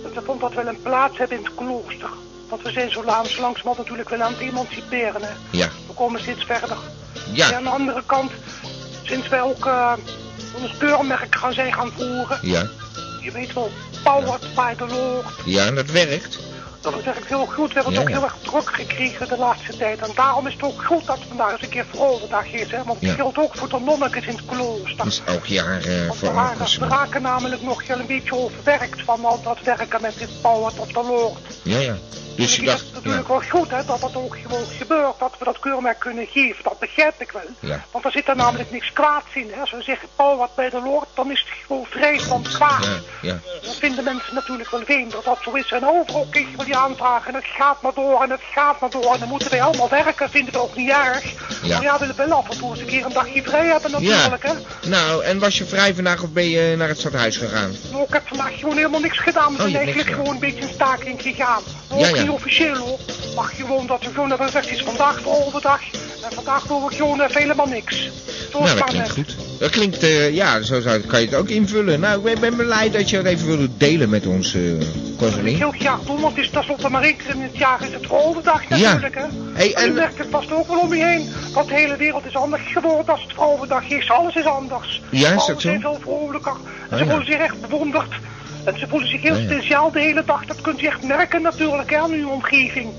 [SPEAKER 18] Dat we vond dat wel een plaats hebben in het klooster. Want we zijn zo langs, langzamerhand natuurlijk wel aan het emanciperen. Hè.
[SPEAKER 2] Ja.
[SPEAKER 18] We komen steeds verder.
[SPEAKER 2] Ja.
[SPEAKER 18] En aan de andere kant, sinds wij ook eh, ons keurmerk gaan zijn gaan voeren,
[SPEAKER 2] Ja.
[SPEAKER 18] je weet wel, powered by the Lord.
[SPEAKER 2] Ja, en dat werkt.
[SPEAKER 18] Dat is eigenlijk heel goed. We hebben het
[SPEAKER 2] Ja,
[SPEAKER 18] ook
[SPEAKER 2] ja.
[SPEAKER 18] heel erg druk gekregen de laatste tijd. En daarom is het ook goed dat vandaag eens een keer Vrouwendag is. Hè? Want het
[SPEAKER 2] Ja.
[SPEAKER 18] geldt ook voor de nonnekes in het klooster.
[SPEAKER 2] Is elk jaar eh
[SPEAKER 18] We waren-
[SPEAKER 2] veranderd.
[SPEAKER 18] we raken namelijk nog heel een beetje overwerkt van al dat werken met dit power tot de Lord.
[SPEAKER 2] Ja, ja. Dus je dacht,
[SPEAKER 18] Het is
[SPEAKER 2] ja,
[SPEAKER 18] natuurlijk wel goed hè, dat dat ook gewoon gebeurt, dat we dat keurmerk kunnen geven. Dat begrijp ik wel.
[SPEAKER 2] ja.
[SPEAKER 18] Want er zit er namelijk niks kwaads in. Hè. Als we zeggen, Paul wat bij de Lord, dan is het gewoon vrij van kwaad.
[SPEAKER 2] Ja, ja.
[SPEAKER 18] Dat vinden mensen natuurlijk wel vreemd dat dat zo is. En overal kregen we die aanvragen en het gaat maar door en het gaat maar door. En dan moeten wij allemaal werken, vinden we ook niet erg.
[SPEAKER 2] Ja.
[SPEAKER 18] Maar ja, we willen wel af en toe eens een keer een dagje vrij hebben natuurlijk. Hè.
[SPEAKER 2] Nou, en was je vrij vandaag of ben je naar het stadhuis gegaan?
[SPEAKER 18] Nou, ik heb vandaag gewoon helemaal niks gedaan. We
[SPEAKER 2] Oh,
[SPEAKER 18] zijn
[SPEAKER 2] je hebt niks
[SPEAKER 18] eigenlijk
[SPEAKER 2] gedaan.
[SPEAKER 18] gewoon een beetje een staking gegaan. Maar
[SPEAKER 2] Ja,
[SPEAKER 18] Nou, ook
[SPEAKER 2] ja.
[SPEAKER 18] niet officieel hoor. Maar gewoon dat we gewoon hebben gezegd, het is vandaag de overdag. En vandaag doen we gewoon even helemaal niks. Zo
[SPEAKER 2] Nou, dat
[SPEAKER 18] spannend.
[SPEAKER 2] klinkt goed. Dat klinkt, eh, ja, zo zou, kan je het ook invullen. Nou, ik ben, ben blij dat je dat even wilde delen met ons, eh Cornelie.
[SPEAKER 18] Heel graag doen, want het is tenslotte maar één keer in het jaar is het vrouwendag
[SPEAKER 2] Ja.
[SPEAKER 18] natuurlijk. Hè.
[SPEAKER 2] Hey,
[SPEAKER 18] en
[SPEAKER 2] en-
[SPEAKER 18] je merkt het vast ook wel om je heen. Want de hele wereld is anders geworden als het vrouwendag is. Alles is anders.
[SPEAKER 2] Ja, is dat zo?
[SPEAKER 18] Vrouwen zijn veel vrolijker. En
[SPEAKER 2] Ah,
[SPEAKER 18] ze
[SPEAKER 2] ja.
[SPEAKER 18] voelen zich echt bewonderd. En ze voelen zich heel
[SPEAKER 2] Ah, ja.
[SPEAKER 18] speciaal de hele dag. Dat kunt je echt merken natuurlijk hè, aan uw omgeving.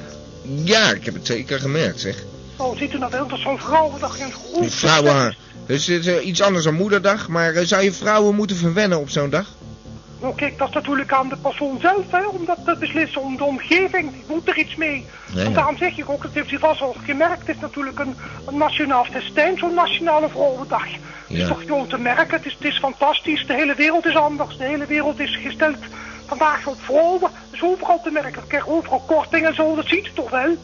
[SPEAKER 2] Ja, ik heb het zeker gemerkt, zeg.
[SPEAKER 18] Oh, ziet u nou wel, dat is zo'n vrouwendag in groep.
[SPEAKER 2] Vrouwen, dus het is eh, iets anders dan moederdag, maar eh, zou je vrouwen moeten verwennen op zo'n dag? <laughs>
[SPEAKER 18] Nou kijk, dat is natuurlijk aan de persoon zelf, hè, om dat te beslissen, om de omgeving, die moet er iets mee.
[SPEAKER 2] Ja,
[SPEAKER 18] En
[SPEAKER 2] ja.
[SPEAKER 18] daarom zeg ik ook, dat heeft u vast al gemerkt, het is natuurlijk een, een nationaal festijn, zo'n nationale vrouwendag. Het is
[SPEAKER 2] Ja.
[SPEAKER 18] toch gewoon te merken, het is, het is fantastisch, de hele wereld is anders, de hele wereld is gesteld vandaag op vrouwen. Dat is overal te merken, ik krijg overal korting en zo, dat ziet u toch wel?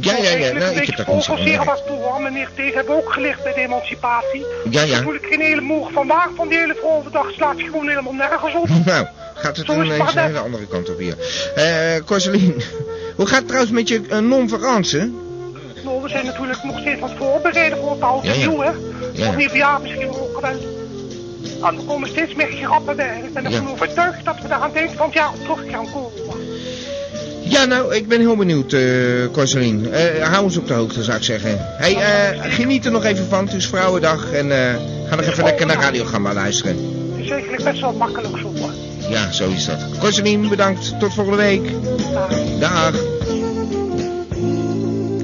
[SPEAKER 2] Ja, ja, ja, nou, ik heb dat niet zo
[SPEAKER 18] zeer
[SPEAKER 2] gemerkt.
[SPEAKER 18] wat toe, hoor. meneer T. hebben we ook gelicht bij de emancipatie.
[SPEAKER 2] Ja, ja.
[SPEAKER 18] Daar voel ik geen hele moer van waar van die hele vrouwendag slaat je gewoon helemaal nergens op.
[SPEAKER 2] Nou, gaat het
[SPEAKER 18] Zo is het
[SPEAKER 2] ineens
[SPEAKER 18] maar
[SPEAKER 2] naar
[SPEAKER 18] net.
[SPEAKER 2] de andere kant op hier. Eh, Corseline, <laughs> hoe gaat het trouwens met je eh, non-verance?
[SPEAKER 18] Nou, we zijn natuurlijk nog steeds wat voorbereiden voor het oude
[SPEAKER 2] Ja, ja.
[SPEAKER 18] nieuw, hè.
[SPEAKER 2] Ja, ja.
[SPEAKER 18] Of nieuw jaar misschien ook wel. En er komen steeds meer grappen bij. En ik ben
[SPEAKER 2] Ja.
[SPEAKER 18] ervan overtuigd dat we daar aan het eind van het jaar op terug gaan komen.
[SPEAKER 2] Ja, nou, ik ben heel benieuwd, eh Corseline. Eh, hou ons op de hoogte, zou ik zeggen. hey, eh, geniet er nog even van. Het is Vrouwendag en eh, ga nog even lekker naar Radiogramma luisteren.
[SPEAKER 18] Het is eigenlijk best wel makkelijk zo, hoor.
[SPEAKER 2] Ja, zo is dat. Corseline, bedankt. Tot volgende week. Dag.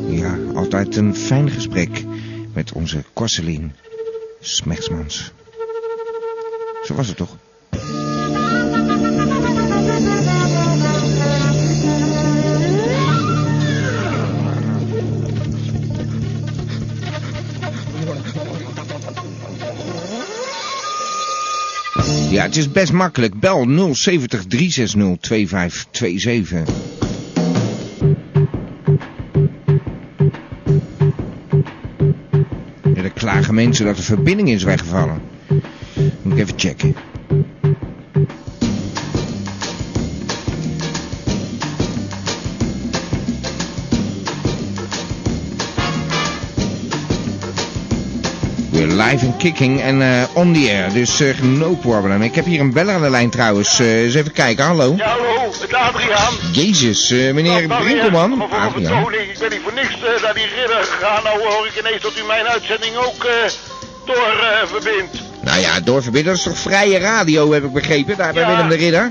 [SPEAKER 2] Ja, altijd een fijn gesprek met onze Corseline Smechtsmans. Zo was het toch? Ja, het is best makkelijk. Bel 070 360 2527. Ja, dan klagen mensen dat de verbinding is weggevallen. Moet ik even checken. We're live and kicking en eh, on the air, dus eh, no problem. Ik heb hier een beller aan de lijn trouwens. Eh, eens even kijken, hallo.
[SPEAKER 5] Ja, hallo, het Adriaan.
[SPEAKER 2] Jezus, eh, meneer
[SPEAKER 5] Dag, meneer.
[SPEAKER 2] Brinkelman.
[SPEAKER 5] Maar voor een
[SPEAKER 2] Adriaan.
[SPEAKER 5] vertoning, ik ben niet voor niks eh, naar die ridder gegaan. Nou hoor ik ineens dat u mijn uitzending ook eh, door eh, verbindt.
[SPEAKER 2] Nou ja, doorverbinden, dat is toch vrije radio, heb ik begrepen, daar bij
[SPEAKER 5] Ja.
[SPEAKER 2] Willem de Ridder?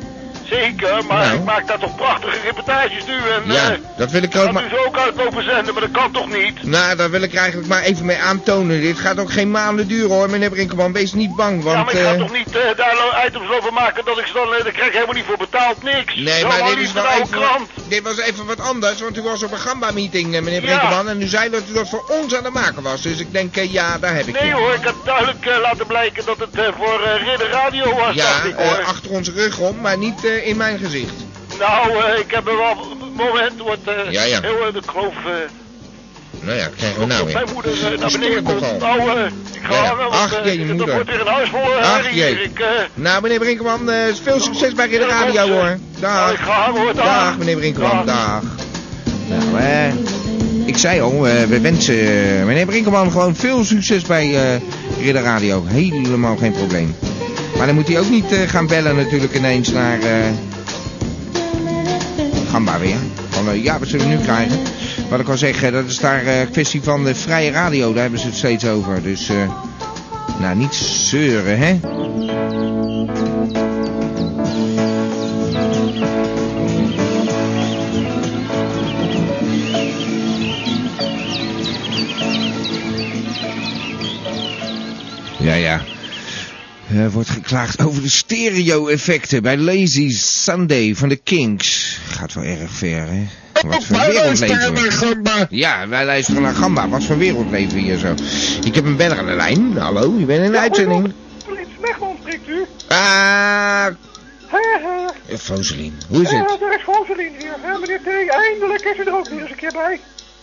[SPEAKER 5] Zeker, maar
[SPEAKER 2] Nou.
[SPEAKER 5] ik maak daar toch prachtige reportages nu. En,
[SPEAKER 2] Ja,
[SPEAKER 5] eh,
[SPEAKER 2] dat wil ik ook
[SPEAKER 5] Gaat u
[SPEAKER 2] maar...
[SPEAKER 5] ze ook uitlopen zenden, maar dat kan toch niet?
[SPEAKER 2] Nou, daar wil ik eigenlijk maar even mee aantonen. Dit gaat ook geen maanden duren hoor, meneer Brinkelman. Wees niet bang, want...
[SPEAKER 5] ja, maar ik ga
[SPEAKER 2] eh,
[SPEAKER 5] toch niet eh, daar lo- items over maken dat ik ze dan... eh, daar krijg ik helemaal niet voor betaald, niks.
[SPEAKER 2] Nee,
[SPEAKER 5] Zo,
[SPEAKER 2] maar dit
[SPEAKER 5] lief
[SPEAKER 2] is
[SPEAKER 5] van
[SPEAKER 2] wel
[SPEAKER 5] de oude
[SPEAKER 2] even...
[SPEAKER 5] krant.
[SPEAKER 2] Dit was even wat anders, want u was op een gamba-meeting, eh, meneer
[SPEAKER 5] Ja.
[SPEAKER 2] Brinkelman. En u zei dat u dat voor ons aan het maken was. Dus ik denk, eh, ja, daar heb ik
[SPEAKER 5] Nee
[SPEAKER 2] je.
[SPEAKER 5] hoor, ik had duidelijk eh, laten blijken dat het eh, voor eh, Ridder Radio was,
[SPEAKER 2] Ja,
[SPEAKER 5] dacht ik
[SPEAKER 2] eh,
[SPEAKER 5] hoor.
[SPEAKER 2] achter ons rug om, maar niet eh, in mijn gezicht.
[SPEAKER 5] Nou, eh, ik heb er wel... Moment, wordt eh
[SPEAKER 2] Ja, ja.
[SPEAKER 5] heel eh, de kloof... eh,
[SPEAKER 2] Nou ja, krijgen we nou
[SPEAKER 5] Mijn
[SPEAKER 2] weer.
[SPEAKER 5] moeder eh, naar
[SPEAKER 2] Stoor
[SPEAKER 5] beneden
[SPEAKER 2] ik
[SPEAKER 5] komt.
[SPEAKER 2] nogal.
[SPEAKER 5] Nou, eh, ik ga
[SPEAKER 2] Ja, ja.
[SPEAKER 5] hangen, want
[SPEAKER 2] Ach,
[SPEAKER 5] eh,
[SPEAKER 2] jee, je
[SPEAKER 5] dat
[SPEAKER 2] moeder.
[SPEAKER 5] wordt weer een huis vol eh,
[SPEAKER 2] Ach,
[SPEAKER 5] herrie hier.
[SPEAKER 2] jee.
[SPEAKER 5] Ik, eh,
[SPEAKER 2] Nou, meneer Brinkelman, eh, veel succes bij Ridder
[SPEAKER 5] Ja,
[SPEAKER 2] Radio
[SPEAKER 5] mensen.
[SPEAKER 2] hoor. Dag.
[SPEAKER 5] Nou, ik ga hangen, hoor. Dag.
[SPEAKER 2] meneer Brinkelman.
[SPEAKER 5] Dag.
[SPEAKER 2] Dag. Nou, eh, ik zei al, eh, we wensen eh, meneer Brinkelman gewoon veel succes bij eh Ridder Radio. Helemaal geen probleem. Maar dan moet hij ook niet eh, gaan bellen natuurlijk ineens naar... eh Gamba weer. Van, eh, ja, wat zullen we nu krijgen? Wat ik al zeg, eh, dat is daar eh kwestie van de vrije radio. Daar hebben ze het steeds over. Dus, eh, nou, niet zeuren, hè? Er wordt geklaagd over de stereo-effecten bij Lazy Sunday van de Kinks. Gaat wel erg ver, hè? Wat voor wereld leven we? Ja, wij luisteren naar Gamba. Wat voor wereld leven we hier zo? Ik heb een beller aan de lijn. Hallo, je bent in de uitzending.
[SPEAKER 8] Politie Mechelen spreekt u.
[SPEAKER 2] Ah,
[SPEAKER 8] Hé, hé.
[SPEAKER 2] eh, Foselien, hoe is het?
[SPEAKER 8] Eh, daar is Rosalien weer. Hè, meneer T, eindelijk is u er ook weer eens een keer bij.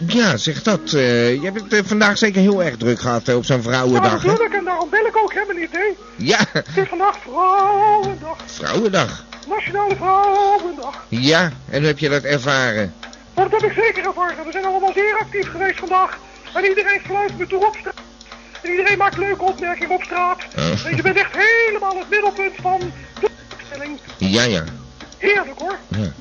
[SPEAKER 2] Ja, zeg dat. eh, je hebt het eh, vandaag zeker heel erg druk gehad eh, op zo'n
[SPEAKER 8] ja,
[SPEAKER 2] vrouwendag, hè?
[SPEAKER 8] natuurlijk, en daarom bel ik ook, hè, meneer T.
[SPEAKER 2] Ja,
[SPEAKER 8] Het is vandaag Vrouwendag.
[SPEAKER 2] vrouwendag.
[SPEAKER 8] Nationale Vrouwendag.
[SPEAKER 2] Ja, en hoe heb je dat ervaren?
[SPEAKER 8] Maar dat heb ik zeker ervaren. We zijn allemaal zeer actief geweest vandaag. En iedereen fluit me toe op straat. En iedereen maakt leuke opmerkingen op straat.
[SPEAKER 2] Oh.
[SPEAKER 8] En je bent echt helemaal het middelpunt van de opstelling.
[SPEAKER 2] Ja, ja.
[SPEAKER 8] Heerlijk hoor.
[SPEAKER 2] ja.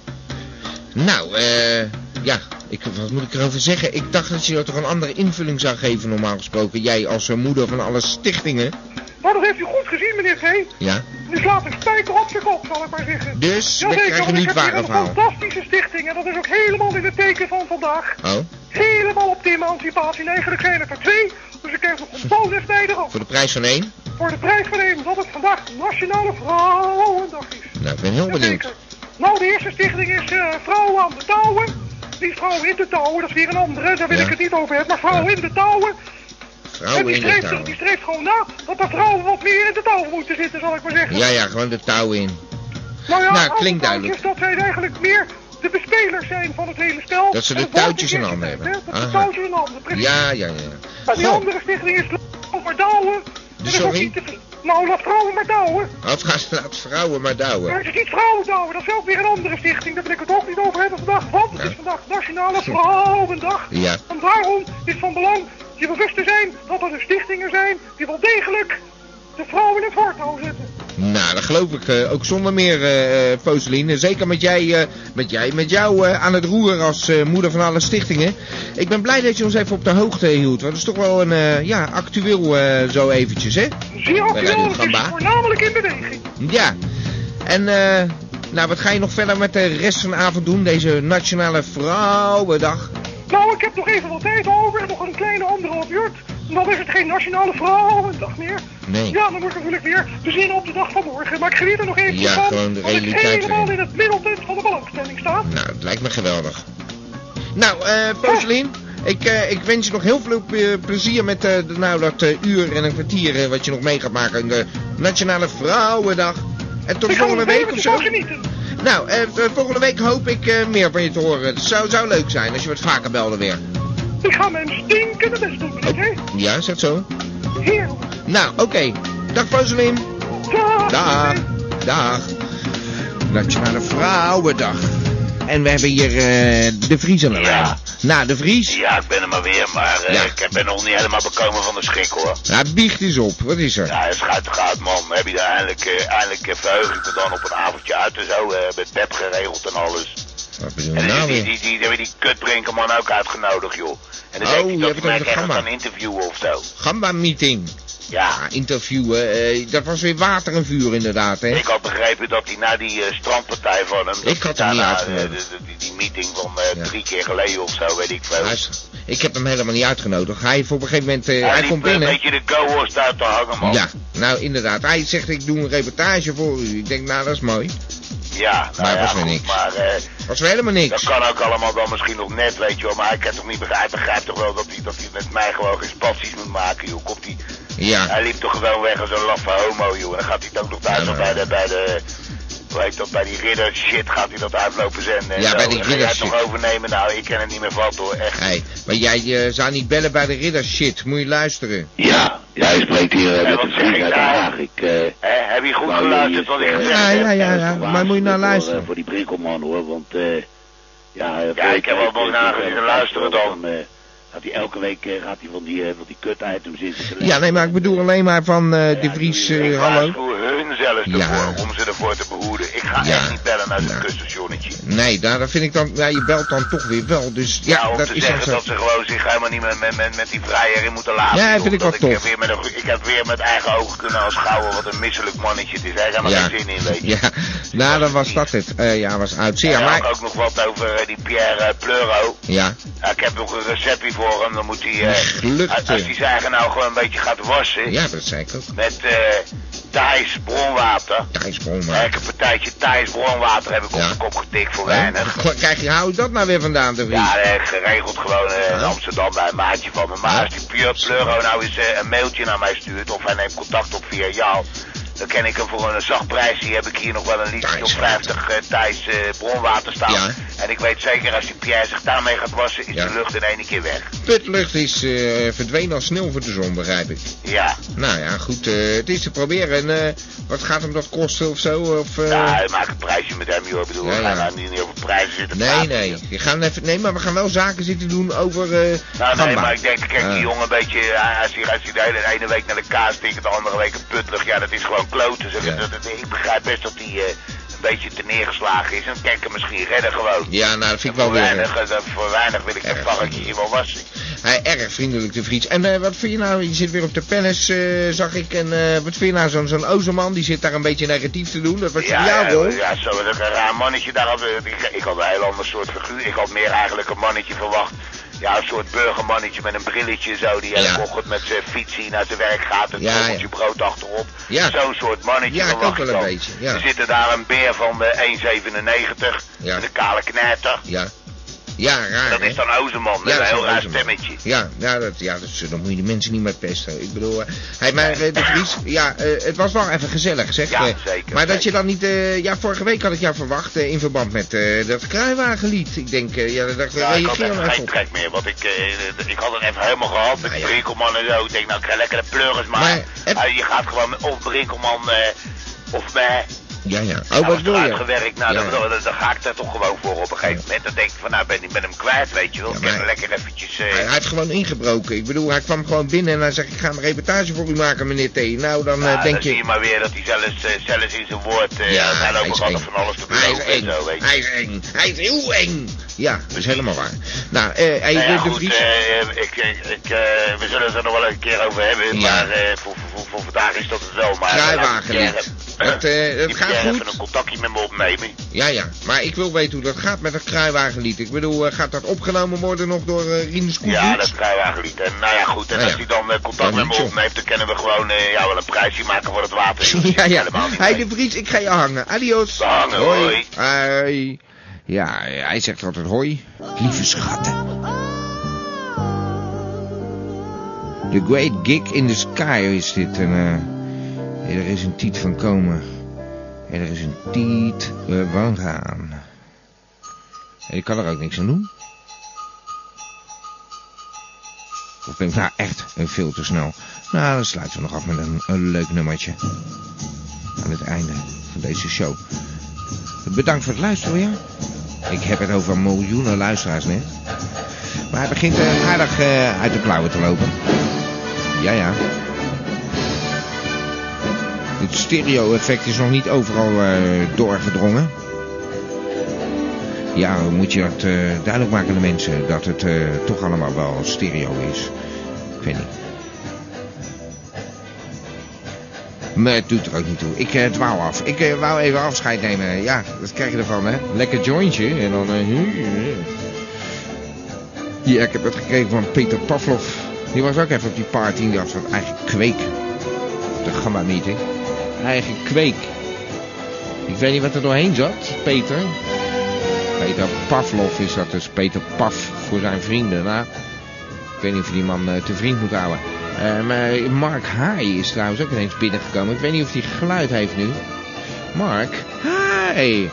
[SPEAKER 2] Nou, eh... ja, ik, wat moet ik erover zeggen? Ik dacht dat je dat toch een andere invulling zou geven normaal gesproken. Jij als eh, moeder van alle stichtingen.
[SPEAKER 8] Maar dat heeft u goed gezien, meneer G.
[SPEAKER 2] Ja.
[SPEAKER 8] Nu slaat een spijker op zijn kop, zal ik maar zeggen.
[SPEAKER 2] Dus, we
[SPEAKER 8] Jazeker,
[SPEAKER 2] krijgen
[SPEAKER 8] want ik
[SPEAKER 2] niet
[SPEAKER 8] heb hier
[SPEAKER 2] ware
[SPEAKER 8] een
[SPEAKER 2] verhalen.
[SPEAKER 8] fantastische stichting en dat is ook helemaal in het teken van vandaag.
[SPEAKER 2] Oh,
[SPEAKER 8] Helemaal op de emancipatie en eigenlijk zijn het er twee. Dus ik krijg nog een bonus bij erop.
[SPEAKER 2] voor de prijs van één?
[SPEAKER 8] Voor de prijs van één, dat het vandaag Nationale Vrouwendag is.
[SPEAKER 2] Nou, ik ben heel benieuwd.
[SPEAKER 8] Nou, de eerste stichting is eh, Vrouwen aan de Touwen. Niet Vrouwen in de Touwen, dat is weer een andere, daar wil
[SPEAKER 2] Ja.
[SPEAKER 8] ik het niet over hebben. Maar Vrouwen in de Touwen, en
[SPEAKER 2] Vrouwen
[SPEAKER 8] die
[SPEAKER 2] in de
[SPEAKER 8] streeft, die
[SPEAKER 2] touwen.
[SPEAKER 8] streeft gewoon na dat de vrouwen wat meer in de touwen moeten zitten, zal ik maar zeggen.
[SPEAKER 2] Ja, ja, gewoon de touwen in.
[SPEAKER 8] Nou ja,
[SPEAKER 2] Nou,
[SPEAKER 8] oude
[SPEAKER 2] klinkt
[SPEAKER 8] touwtjes,
[SPEAKER 2] duidelijk.
[SPEAKER 8] Dat zij eigenlijk meer de bespelers zijn van het hele spel.
[SPEAKER 2] Dat ze de
[SPEAKER 8] En wat
[SPEAKER 2] touwtjes
[SPEAKER 8] is
[SPEAKER 2] in handen
[SPEAKER 8] het,
[SPEAKER 2] hebben.
[SPEAKER 8] hè? Dat
[SPEAKER 2] Aha.
[SPEAKER 8] de touwtjes in handen, precies.
[SPEAKER 2] Ja, ja, ja.
[SPEAKER 8] En die
[SPEAKER 2] Goh.
[SPEAKER 8] andere stichting is Laat maar douwen. Dat is ook
[SPEAKER 2] sorry?
[SPEAKER 8] niet te ver- Nou, laat vrouwen maar douwen.
[SPEAKER 2] Afgaat, laat vrouwen maar
[SPEAKER 8] Maar het
[SPEAKER 2] douwen.
[SPEAKER 8] is niet vrouwen douwen, dat is ook weer een andere stichting. Daar wil ik het ook niet over hebben vandaag, want het
[SPEAKER 2] Ja.
[SPEAKER 8] is vandaag Nationale Vrouwendag.
[SPEAKER 2] Ja.
[SPEAKER 8] En daarom is het van belang je bewust te zijn dat er dus stichtingen zijn die wel degelijk de vrouwen in het voortouw zetten.
[SPEAKER 2] Nou, dat geloof ik eh, ook zonder meer, eh eh, Foseline. Zeker met jij, eh, met jij, met jou eh, aan het roer als eh, moeder van alle stichtingen. Ik ben blij dat je ons even op de hoogte hield. Want dat is toch wel een, eh, ja, actueel eh, zo eventjes, hè?
[SPEAKER 8] Zie ook
[SPEAKER 2] Bij Radio
[SPEAKER 8] wel, het is
[SPEAKER 2] Gamba.
[SPEAKER 8] voornamelijk in beweging.
[SPEAKER 2] Ja. En, eh, nou, wat ga je nog verder met de rest van de avond doen? Deze Nationale Vrouwendag.
[SPEAKER 8] Nou, ik heb nog even wat tijd over, nog een kleine anderhalf uur. Dan is het geen Nationale Vrouwendag meer.
[SPEAKER 2] Nee.
[SPEAKER 8] Ja, dan moet ik natuurlijk weer bezinnen op de dag van morgen. Maar ik geniet er nog even
[SPEAKER 2] Ja,
[SPEAKER 8] van,
[SPEAKER 2] gewoon de
[SPEAKER 8] dat ik
[SPEAKER 2] realiteit
[SPEAKER 8] helemaal
[SPEAKER 2] erin.
[SPEAKER 8] in het middelpunt van de belangstelling sta.
[SPEAKER 2] Nou, het lijkt me geweldig. Nou, eh, Poseline, ik, eh, ik wens je nog heel veel ple- plezier met eh, de- nou, dat eh, uur en een kwartier eh, wat je nog mee gaat maken. aan De Nationale Vrouwendag. En tot
[SPEAKER 8] ik ga
[SPEAKER 2] volgende
[SPEAKER 8] nog
[SPEAKER 2] week
[SPEAKER 8] even
[SPEAKER 2] of zo.
[SPEAKER 8] van genieten.
[SPEAKER 2] Nou, eh, v- volgende week hoop ik eh, meer van je te horen. Het zou, zou leuk zijn als je wat vaker belde weer.
[SPEAKER 8] Ik ga mijn stinkende best doen, oké?
[SPEAKER 2] Ja, is dat zo?
[SPEAKER 8] Heerlijk.
[SPEAKER 2] Nou, oké. Dag Poseline.
[SPEAKER 8] Dag.
[SPEAKER 2] Dag. Dag. Nationale Vrouwendag. En we hebben hier eh, de Vries aan de lijn. Nou, de Vries.
[SPEAKER 16] Ja, ik ben er maar weer, maar eh,
[SPEAKER 2] Ja.
[SPEAKER 16] ik ben nog niet helemaal bekomen van de schrik hoor.
[SPEAKER 2] Ja, biecht eens op. Wat is er?
[SPEAKER 16] Ja, het gaat, gaat man. Heb je daar eindelijk, eh, eindelijk eh, verheug ik me dan op een avondje uit en zo. eh, met Pep geregeld en alles.
[SPEAKER 2] Wat bedoel je
[SPEAKER 16] En
[SPEAKER 2] nou
[SPEAKER 16] die, die,
[SPEAKER 2] weer?
[SPEAKER 16] die, die, die, die kutbrinkerman ook uitgenodigd, joh. En dan
[SPEAKER 2] Oh,
[SPEAKER 16] denk
[SPEAKER 2] je hebt
[SPEAKER 16] ik dat
[SPEAKER 2] het
[SPEAKER 16] ik
[SPEAKER 2] over
[SPEAKER 16] mij echt
[SPEAKER 2] Gamma.
[SPEAKER 16] gaan interviewen of zo.
[SPEAKER 2] Gamba meeting.
[SPEAKER 16] Ja.
[SPEAKER 2] Ah, interviewen. eh, dat was weer water en vuur inderdaad, hè?
[SPEAKER 16] Ik had begrepen dat hij na die eh, strandpartij van hem...
[SPEAKER 2] Ik had hem niet uitgenodigd.
[SPEAKER 16] uitgenodigd. eh, die, die meeting van eh, drie keer geleden of zo, weet ik veel.
[SPEAKER 2] Hij is- ik heb hem helemaal niet uitgenodigd. Hij heeft op een gegeven moment... eh,
[SPEAKER 16] Hij
[SPEAKER 2] hij
[SPEAKER 16] liep
[SPEAKER 2] komt
[SPEAKER 16] een
[SPEAKER 2] binnen.
[SPEAKER 16] beetje de go-horst uit te hangen, man.
[SPEAKER 2] Ja, nou inderdaad. Hij zegt, ik doe een reportage voor u. Ik denk, nou, dat is mooi.
[SPEAKER 16] Ja, nou
[SPEAKER 2] Maar
[SPEAKER 16] ja,
[SPEAKER 2] was weer
[SPEAKER 16] goed,
[SPEAKER 2] niks.
[SPEAKER 16] Maar, eh,
[SPEAKER 2] Was weer helemaal niks.
[SPEAKER 16] Dat kan ook allemaal wel misschien nog net, weet je wel. Maar ik heb toch niet begrijp, begrijp toch wel dat hij, dat hij met mij gewoon geen spaties moet maken, joh. Komt hij,
[SPEAKER 2] Ja.
[SPEAKER 16] hij liep toch gewoon weg als een laffe homo, joh. En dan gaat hij het ook nog daar zo bij de, bij de, hoe heet dat, bij die ridder shit gaat hij dat uitlopen zenden. en
[SPEAKER 2] Ja,
[SPEAKER 16] zo.
[SPEAKER 2] bij die
[SPEAKER 16] En ga jij het
[SPEAKER 2] riddershit.
[SPEAKER 16] nog overnemen? Nou, ik ken het niet meer wat, hoor. Echt.
[SPEAKER 2] Hey, maar jij eh, zou niet bellen bij de ridders shit. Moet je luisteren.
[SPEAKER 19] Ja, ja, je spreekt hier eh, met een vriend uit Den Haag. Ik,
[SPEAKER 16] heb je goed
[SPEAKER 19] geluisterd
[SPEAKER 16] wat ik
[SPEAKER 19] gezegd
[SPEAKER 2] Ja, ja, ja, ja. Maar moet je nou luisteren.
[SPEAKER 19] Voor, die prikkelman hoor, want eh ja... eh,
[SPEAKER 16] Ja,
[SPEAKER 19] vorige
[SPEAKER 16] ik heb wel
[SPEAKER 19] week,
[SPEAKER 16] mooi
[SPEAKER 19] eh,
[SPEAKER 16] nagezien
[SPEAKER 19] toen, eh,
[SPEAKER 16] luisteren dan.
[SPEAKER 19] eh, gaat hij elke week eh, gaat hij van, die, eh, van die kut-items in te
[SPEAKER 2] Ja, nee, maar ik bedoel alleen maar van eh, de Vries. eh,
[SPEAKER 16] Ik
[SPEAKER 2] hallo.
[SPEAKER 16] waarschuw hun zelfs
[SPEAKER 2] Ja.
[SPEAKER 16] ervoor, om ze ervoor te behoeden. Ik ga
[SPEAKER 2] Ja.
[SPEAKER 16] echt niet bellen naar zo'n kuststationnetje.
[SPEAKER 2] Nee, daar dat vind ik dan... Ja, je belt dan toch weer wel. Dus ja,
[SPEAKER 16] Ja, om
[SPEAKER 2] dat
[SPEAKER 16] te
[SPEAKER 2] is dan
[SPEAKER 16] zeggen
[SPEAKER 2] zo.
[SPEAKER 16] dat ze gewoon zich helemaal niet met, met, met, met die vrijer in moeten laten.
[SPEAKER 2] Ja,
[SPEAKER 16] joh.
[SPEAKER 2] vind ik
[SPEAKER 16] Dat
[SPEAKER 2] wel
[SPEAKER 16] Ik
[SPEAKER 2] tof.
[SPEAKER 16] heb, weer met een- ik heb weer met eigen ogen kunnen aanschouwen wat een misselijk mannetje het is. Hij heeft helemaal
[SPEAKER 2] Ja,
[SPEAKER 16] geen zin in, weet je.
[SPEAKER 2] ja. nou dan was dat het. Eh, ja, was oud zeer,
[SPEAKER 16] Hij had
[SPEAKER 2] maar...
[SPEAKER 16] ook nog wat over eh, die Pierre eh, Pleuro.
[SPEAKER 2] Ja,
[SPEAKER 16] Ja, ik heb nog een receptje voor hem. Dan moet hij, eh,
[SPEAKER 2] Gelukkig.
[SPEAKER 16] als hij zijn eigen nou gewoon een beetje gaat wassen.
[SPEAKER 2] ja, dat zei ik ook.
[SPEAKER 16] Met, eh, Thijs Bronwater.
[SPEAKER 2] Thijs Bronwater.
[SPEAKER 16] Ik een partijtje Thijs Bronwater heb ik op de kop getikt voor weinig.
[SPEAKER 2] Waar krijg je, hou je dat nou weer vandaan, de vriend?
[SPEAKER 16] Ja, eh, geregeld gewoon eh, in Amsterdam bij een maatje van me. Maar als die Pure Pleuro nou eens eh, een mailtje naar mij stuurt of hij neemt contact op via jou, dan ken ik hem voor een zacht prijsje. Heb ik hier nog wel een liedje op 50 eh, Thijs eh, Bronwater staan. En ik weet zeker als die Pierre zich daarmee gaat wassen, is
[SPEAKER 2] Ja.
[SPEAKER 16] de lucht in één keer weg.
[SPEAKER 2] Putlucht is eh, verdwenen als sneeuw voor de zon, begrijp ik.
[SPEAKER 16] Ja.
[SPEAKER 2] Nou ja, goed, eh, het is te proberen. En eh, wat gaat hem dat kosten of zo? Of, eh,
[SPEAKER 16] Ja, hij maakt een prijsje met hem, joh. Ik bedoel,
[SPEAKER 2] Ja,
[SPEAKER 16] we gaan
[SPEAKER 2] ja.
[SPEAKER 16] nou niet niet over prijzen zitten
[SPEAKER 2] nee,
[SPEAKER 16] praten.
[SPEAKER 2] nee. We gaan even, nee, maar we gaan wel zaken zitten doen over. eh,
[SPEAKER 16] Nou, nee,
[SPEAKER 2] Gamba.
[SPEAKER 16] maar ik denk, kijk, die
[SPEAKER 2] Eh,
[SPEAKER 16] jongen een beetje, eh, als hij, als hij de, hele, de ene week naar de kaas tikt, de andere week een putlig, ja, dat is gewoon kloten. Zeg.
[SPEAKER 2] Ja.
[SPEAKER 16] Dat, dat- ik begrijp best dat hij eh, een beetje te neergeslagen is. En kijk, hem misschien redden gewoon.
[SPEAKER 2] Ja, nou, dat vind ik wel
[SPEAKER 16] Voor
[SPEAKER 2] weer.
[SPEAKER 16] weinig, eh, dat- voor weinig wil ik dat varkentje hier wel wassen.
[SPEAKER 2] Hij erg vriendelijk, de Vries. En eh, wat vind je nou? Je zit weer op de palace, eh, zag ik. En eh, wat vind je nou? Zo'n zo'n Ozerman, die zit daar een beetje negatief te doen. Dat wat je
[SPEAKER 16] Ja,
[SPEAKER 2] van jou
[SPEAKER 16] ja,
[SPEAKER 2] wil.
[SPEAKER 16] ja, zo dat een raar mannetje daar had. eh, Ik, ik had een heel ander soort figuur. Ik had meer eigenlijk een mannetje verwacht. Ja, een soort burgermannetje met een brilletje zo. Die elke ochtend met zijn fietsie naar zijn werk gaat. En
[SPEAKER 2] Ja,
[SPEAKER 16] ja,
[SPEAKER 2] ja.
[SPEAKER 16] brood achterop.
[SPEAKER 2] Ja.
[SPEAKER 16] Zo'n soort mannetje
[SPEAKER 2] Ja, ik
[SPEAKER 16] verwacht
[SPEAKER 2] ook wel
[SPEAKER 16] dan.
[SPEAKER 2] een beetje, ja.
[SPEAKER 16] Er zitten daar een beer van eh, 1,97.
[SPEAKER 2] Ja.
[SPEAKER 16] Met een kale knetter.
[SPEAKER 2] Ja. Ja, raar.
[SPEAKER 16] Dat
[SPEAKER 2] hè?
[SPEAKER 16] is dan Ozerman.
[SPEAKER 2] Ja,
[SPEAKER 16] Met een
[SPEAKER 2] dat is
[SPEAKER 16] heel
[SPEAKER 2] een
[SPEAKER 16] raar
[SPEAKER 2] Ozerman.
[SPEAKER 16] stemmetje.
[SPEAKER 2] Ja, ja, dat, ja dat, is- dan moet je de mensen niet meer pesten. Ik bedoel, eh, hey, maar eh, de Vries, ja, eh, het was wel even gezellig, zeg.
[SPEAKER 16] Ja,
[SPEAKER 2] eh.
[SPEAKER 16] zeker,
[SPEAKER 2] Maar dat je dan niet, eh, ja, vorige week had ik jou verwacht eh, in verband met eh, dat kruiwagenlied. Ik denk, eh, ja, dat
[SPEAKER 16] Ja, ik had
[SPEAKER 2] reageer
[SPEAKER 16] even
[SPEAKER 2] maar even
[SPEAKER 16] geen
[SPEAKER 2] op. Nou
[SPEAKER 16] trek meer, want ik, eh, ik had het even helemaal gehad met die Brinkelman en zo. Ik denk, nou, ik ga lekker de pleuris maken. Eh, je gaat gewoon of Brinkelman eh, of mij.
[SPEAKER 2] Ja, ja. Oh,
[SPEAKER 16] Nou, als
[SPEAKER 2] wat
[SPEAKER 16] het
[SPEAKER 2] wil je?
[SPEAKER 16] uitgewerkt, nou,
[SPEAKER 2] Ja.
[SPEAKER 16] dan, dan, dan ga ik daar toch gewoon voor op een gegeven moment. Dan denk ik van, nou, ben ik met hem kwijt, weet je wel. ik heb hem lekker eventjes... eh,
[SPEAKER 2] Hij, hij heeft gewoon ingebroken. Ik bedoel, hij kwam gewoon binnen en hij zegt, ik ga een reportage voor u maken, meneer T. Nou, dan eh,
[SPEAKER 16] nou,
[SPEAKER 2] denk
[SPEAKER 16] dan
[SPEAKER 2] je...
[SPEAKER 16] zie je maar weer dat hij zelfs, eh, zelfs in zijn woord... eh
[SPEAKER 2] Ja,
[SPEAKER 16] hij
[SPEAKER 2] hij
[SPEAKER 16] loopt
[SPEAKER 2] is
[SPEAKER 16] nog altijd
[SPEAKER 2] eng.
[SPEAKER 16] van alles te
[SPEAKER 2] Hij is
[SPEAKER 16] beloven en
[SPEAKER 2] eng.
[SPEAKER 16] zo, weet je.
[SPEAKER 2] Hij is eng. Hij is heel eng. Ja, dat is helemaal waar. Nou, eh, hey,
[SPEAKER 16] Nou
[SPEAKER 2] de,
[SPEAKER 16] ja,
[SPEAKER 2] de
[SPEAKER 16] goed,
[SPEAKER 2] Vries...
[SPEAKER 16] eh, ik, ik, ik, eh, we zullen het er nog wel een keer over hebben,
[SPEAKER 2] Ja.
[SPEAKER 16] maar eh, voor, voor, voor vandaag is dat het wel. Maar
[SPEAKER 2] Kruiwagenlied. Dat, eh, dat
[SPEAKER 16] ik
[SPEAKER 2] gaat goed.
[SPEAKER 16] even een contactje met me opnemen.
[SPEAKER 2] Ja, ja. Maar ik wil weten hoe dat gaat met dat kruiwagenlied. Ik bedoel, eh, gaat dat opgenomen worden nog door eh Rinus Koevoets?
[SPEAKER 16] Ja,
[SPEAKER 2] <laughs>
[SPEAKER 16] dat kruiwagenlied. En nou ja, goed, en
[SPEAKER 2] Nou
[SPEAKER 16] als
[SPEAKER 2] ja.
[SPEAKER 16] hij dan eh, contact
[SPEAKER 2] Dan
[SPEAKER 16] met me
[SPEAKER 2] niet,
[SPEAKER 16] opneemt, dan kunnen we gewoon eh, ja, wel een prijsje maken voor het water.
[SPEAKER 2] <laughs>
[SPEAKER 16] joh.
[SPEAKER 2] Ja, ja.
[SPEAKER 16] Helemaal niet.
[SPEAKER 2] Hey, de Vries, ik ga je hangen. Adios.
[SPEAKER 16] Hangen, hoi.
[SPEAKER 2] Hoi. Ja, hij zegt altijd hoi. Lieve schatten. The Great Gig in the Sky is dit. En, eh, er is een tiet van komen. En er is een tiet eh, van gaan. En ik kan er ook niks aan doen. Of ben ik nou echt eh, veel te snel? Nou, dan sluiten we nog af met een, een leuk nummertje. Aan het einde van deze show. Bedankt voor het luisteren weer. Ik heb het over miljoenen luisteraars net. Maar hij begint eh, aardig eh, uit de klauwen te lopen. Ja, ja. Het stereo-effect is nog niet overal eh, doorgedrongen. Ja, hoe moet je dat eh, duidelijk maken aan de mensen? Dat het eh, toch allemaal wel stereo is. Ik weet niet. Maar het doet er ook niet toe. Ik eh, dwaal af. Ik eh, wou even afscheid nemen. Ja, dat krijg je ervan, hè? Lekker jointje. En dan... eh, Ja, ik heb het gekregen van Peter Pavlov. Die was ook even op die party. en Die had van eigen kweek. De gamma-meeting. Eigen kweek. Ik weet niet wat er doorheen zat, Peter. Peter Pavlov is dat dus. Peter Paf voor zijn vrienden. Nou, ik weet niet of je die man eh, te vriend moet houden. Eh, maar Mark Haai is trouwens ook ineens binnengekomen. Ik weet niet of hij geluid heeft nu. Mark, hi!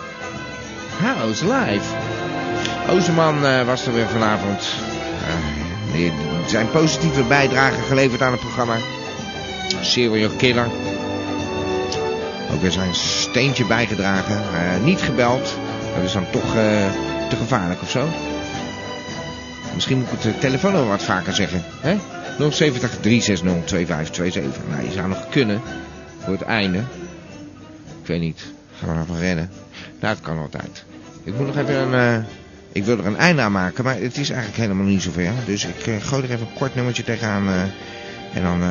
[SPEAKER 2] How's life? Ozerman eh, was er weer vanavond. Eh, die- zijn positieve bijdrage geleverd aan het programma. Serial Killer. Ook weer zijn steentje bijgedragen. Eh, niet gebeld. Dat is dan toch eh, te gevaarlijk of zo. Misschien moet ik het eh, telefoonnummer wat vaker zeggen. Hè? 070 360 2527. Nou, je zou nog kunnen. Voor het einde. Ik weet niet. Gaan we nog even rennen? Nou, het kan altijd. Ik moet nog even een... eh, ik wil er een einde aan maken, maar het is eigenlijk helemaal niet zover. Dus ik eh, gooi er even een kort nummertje tegenaan. eh, en dan eh,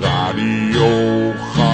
[SPEAKER 20] Radio Gamba.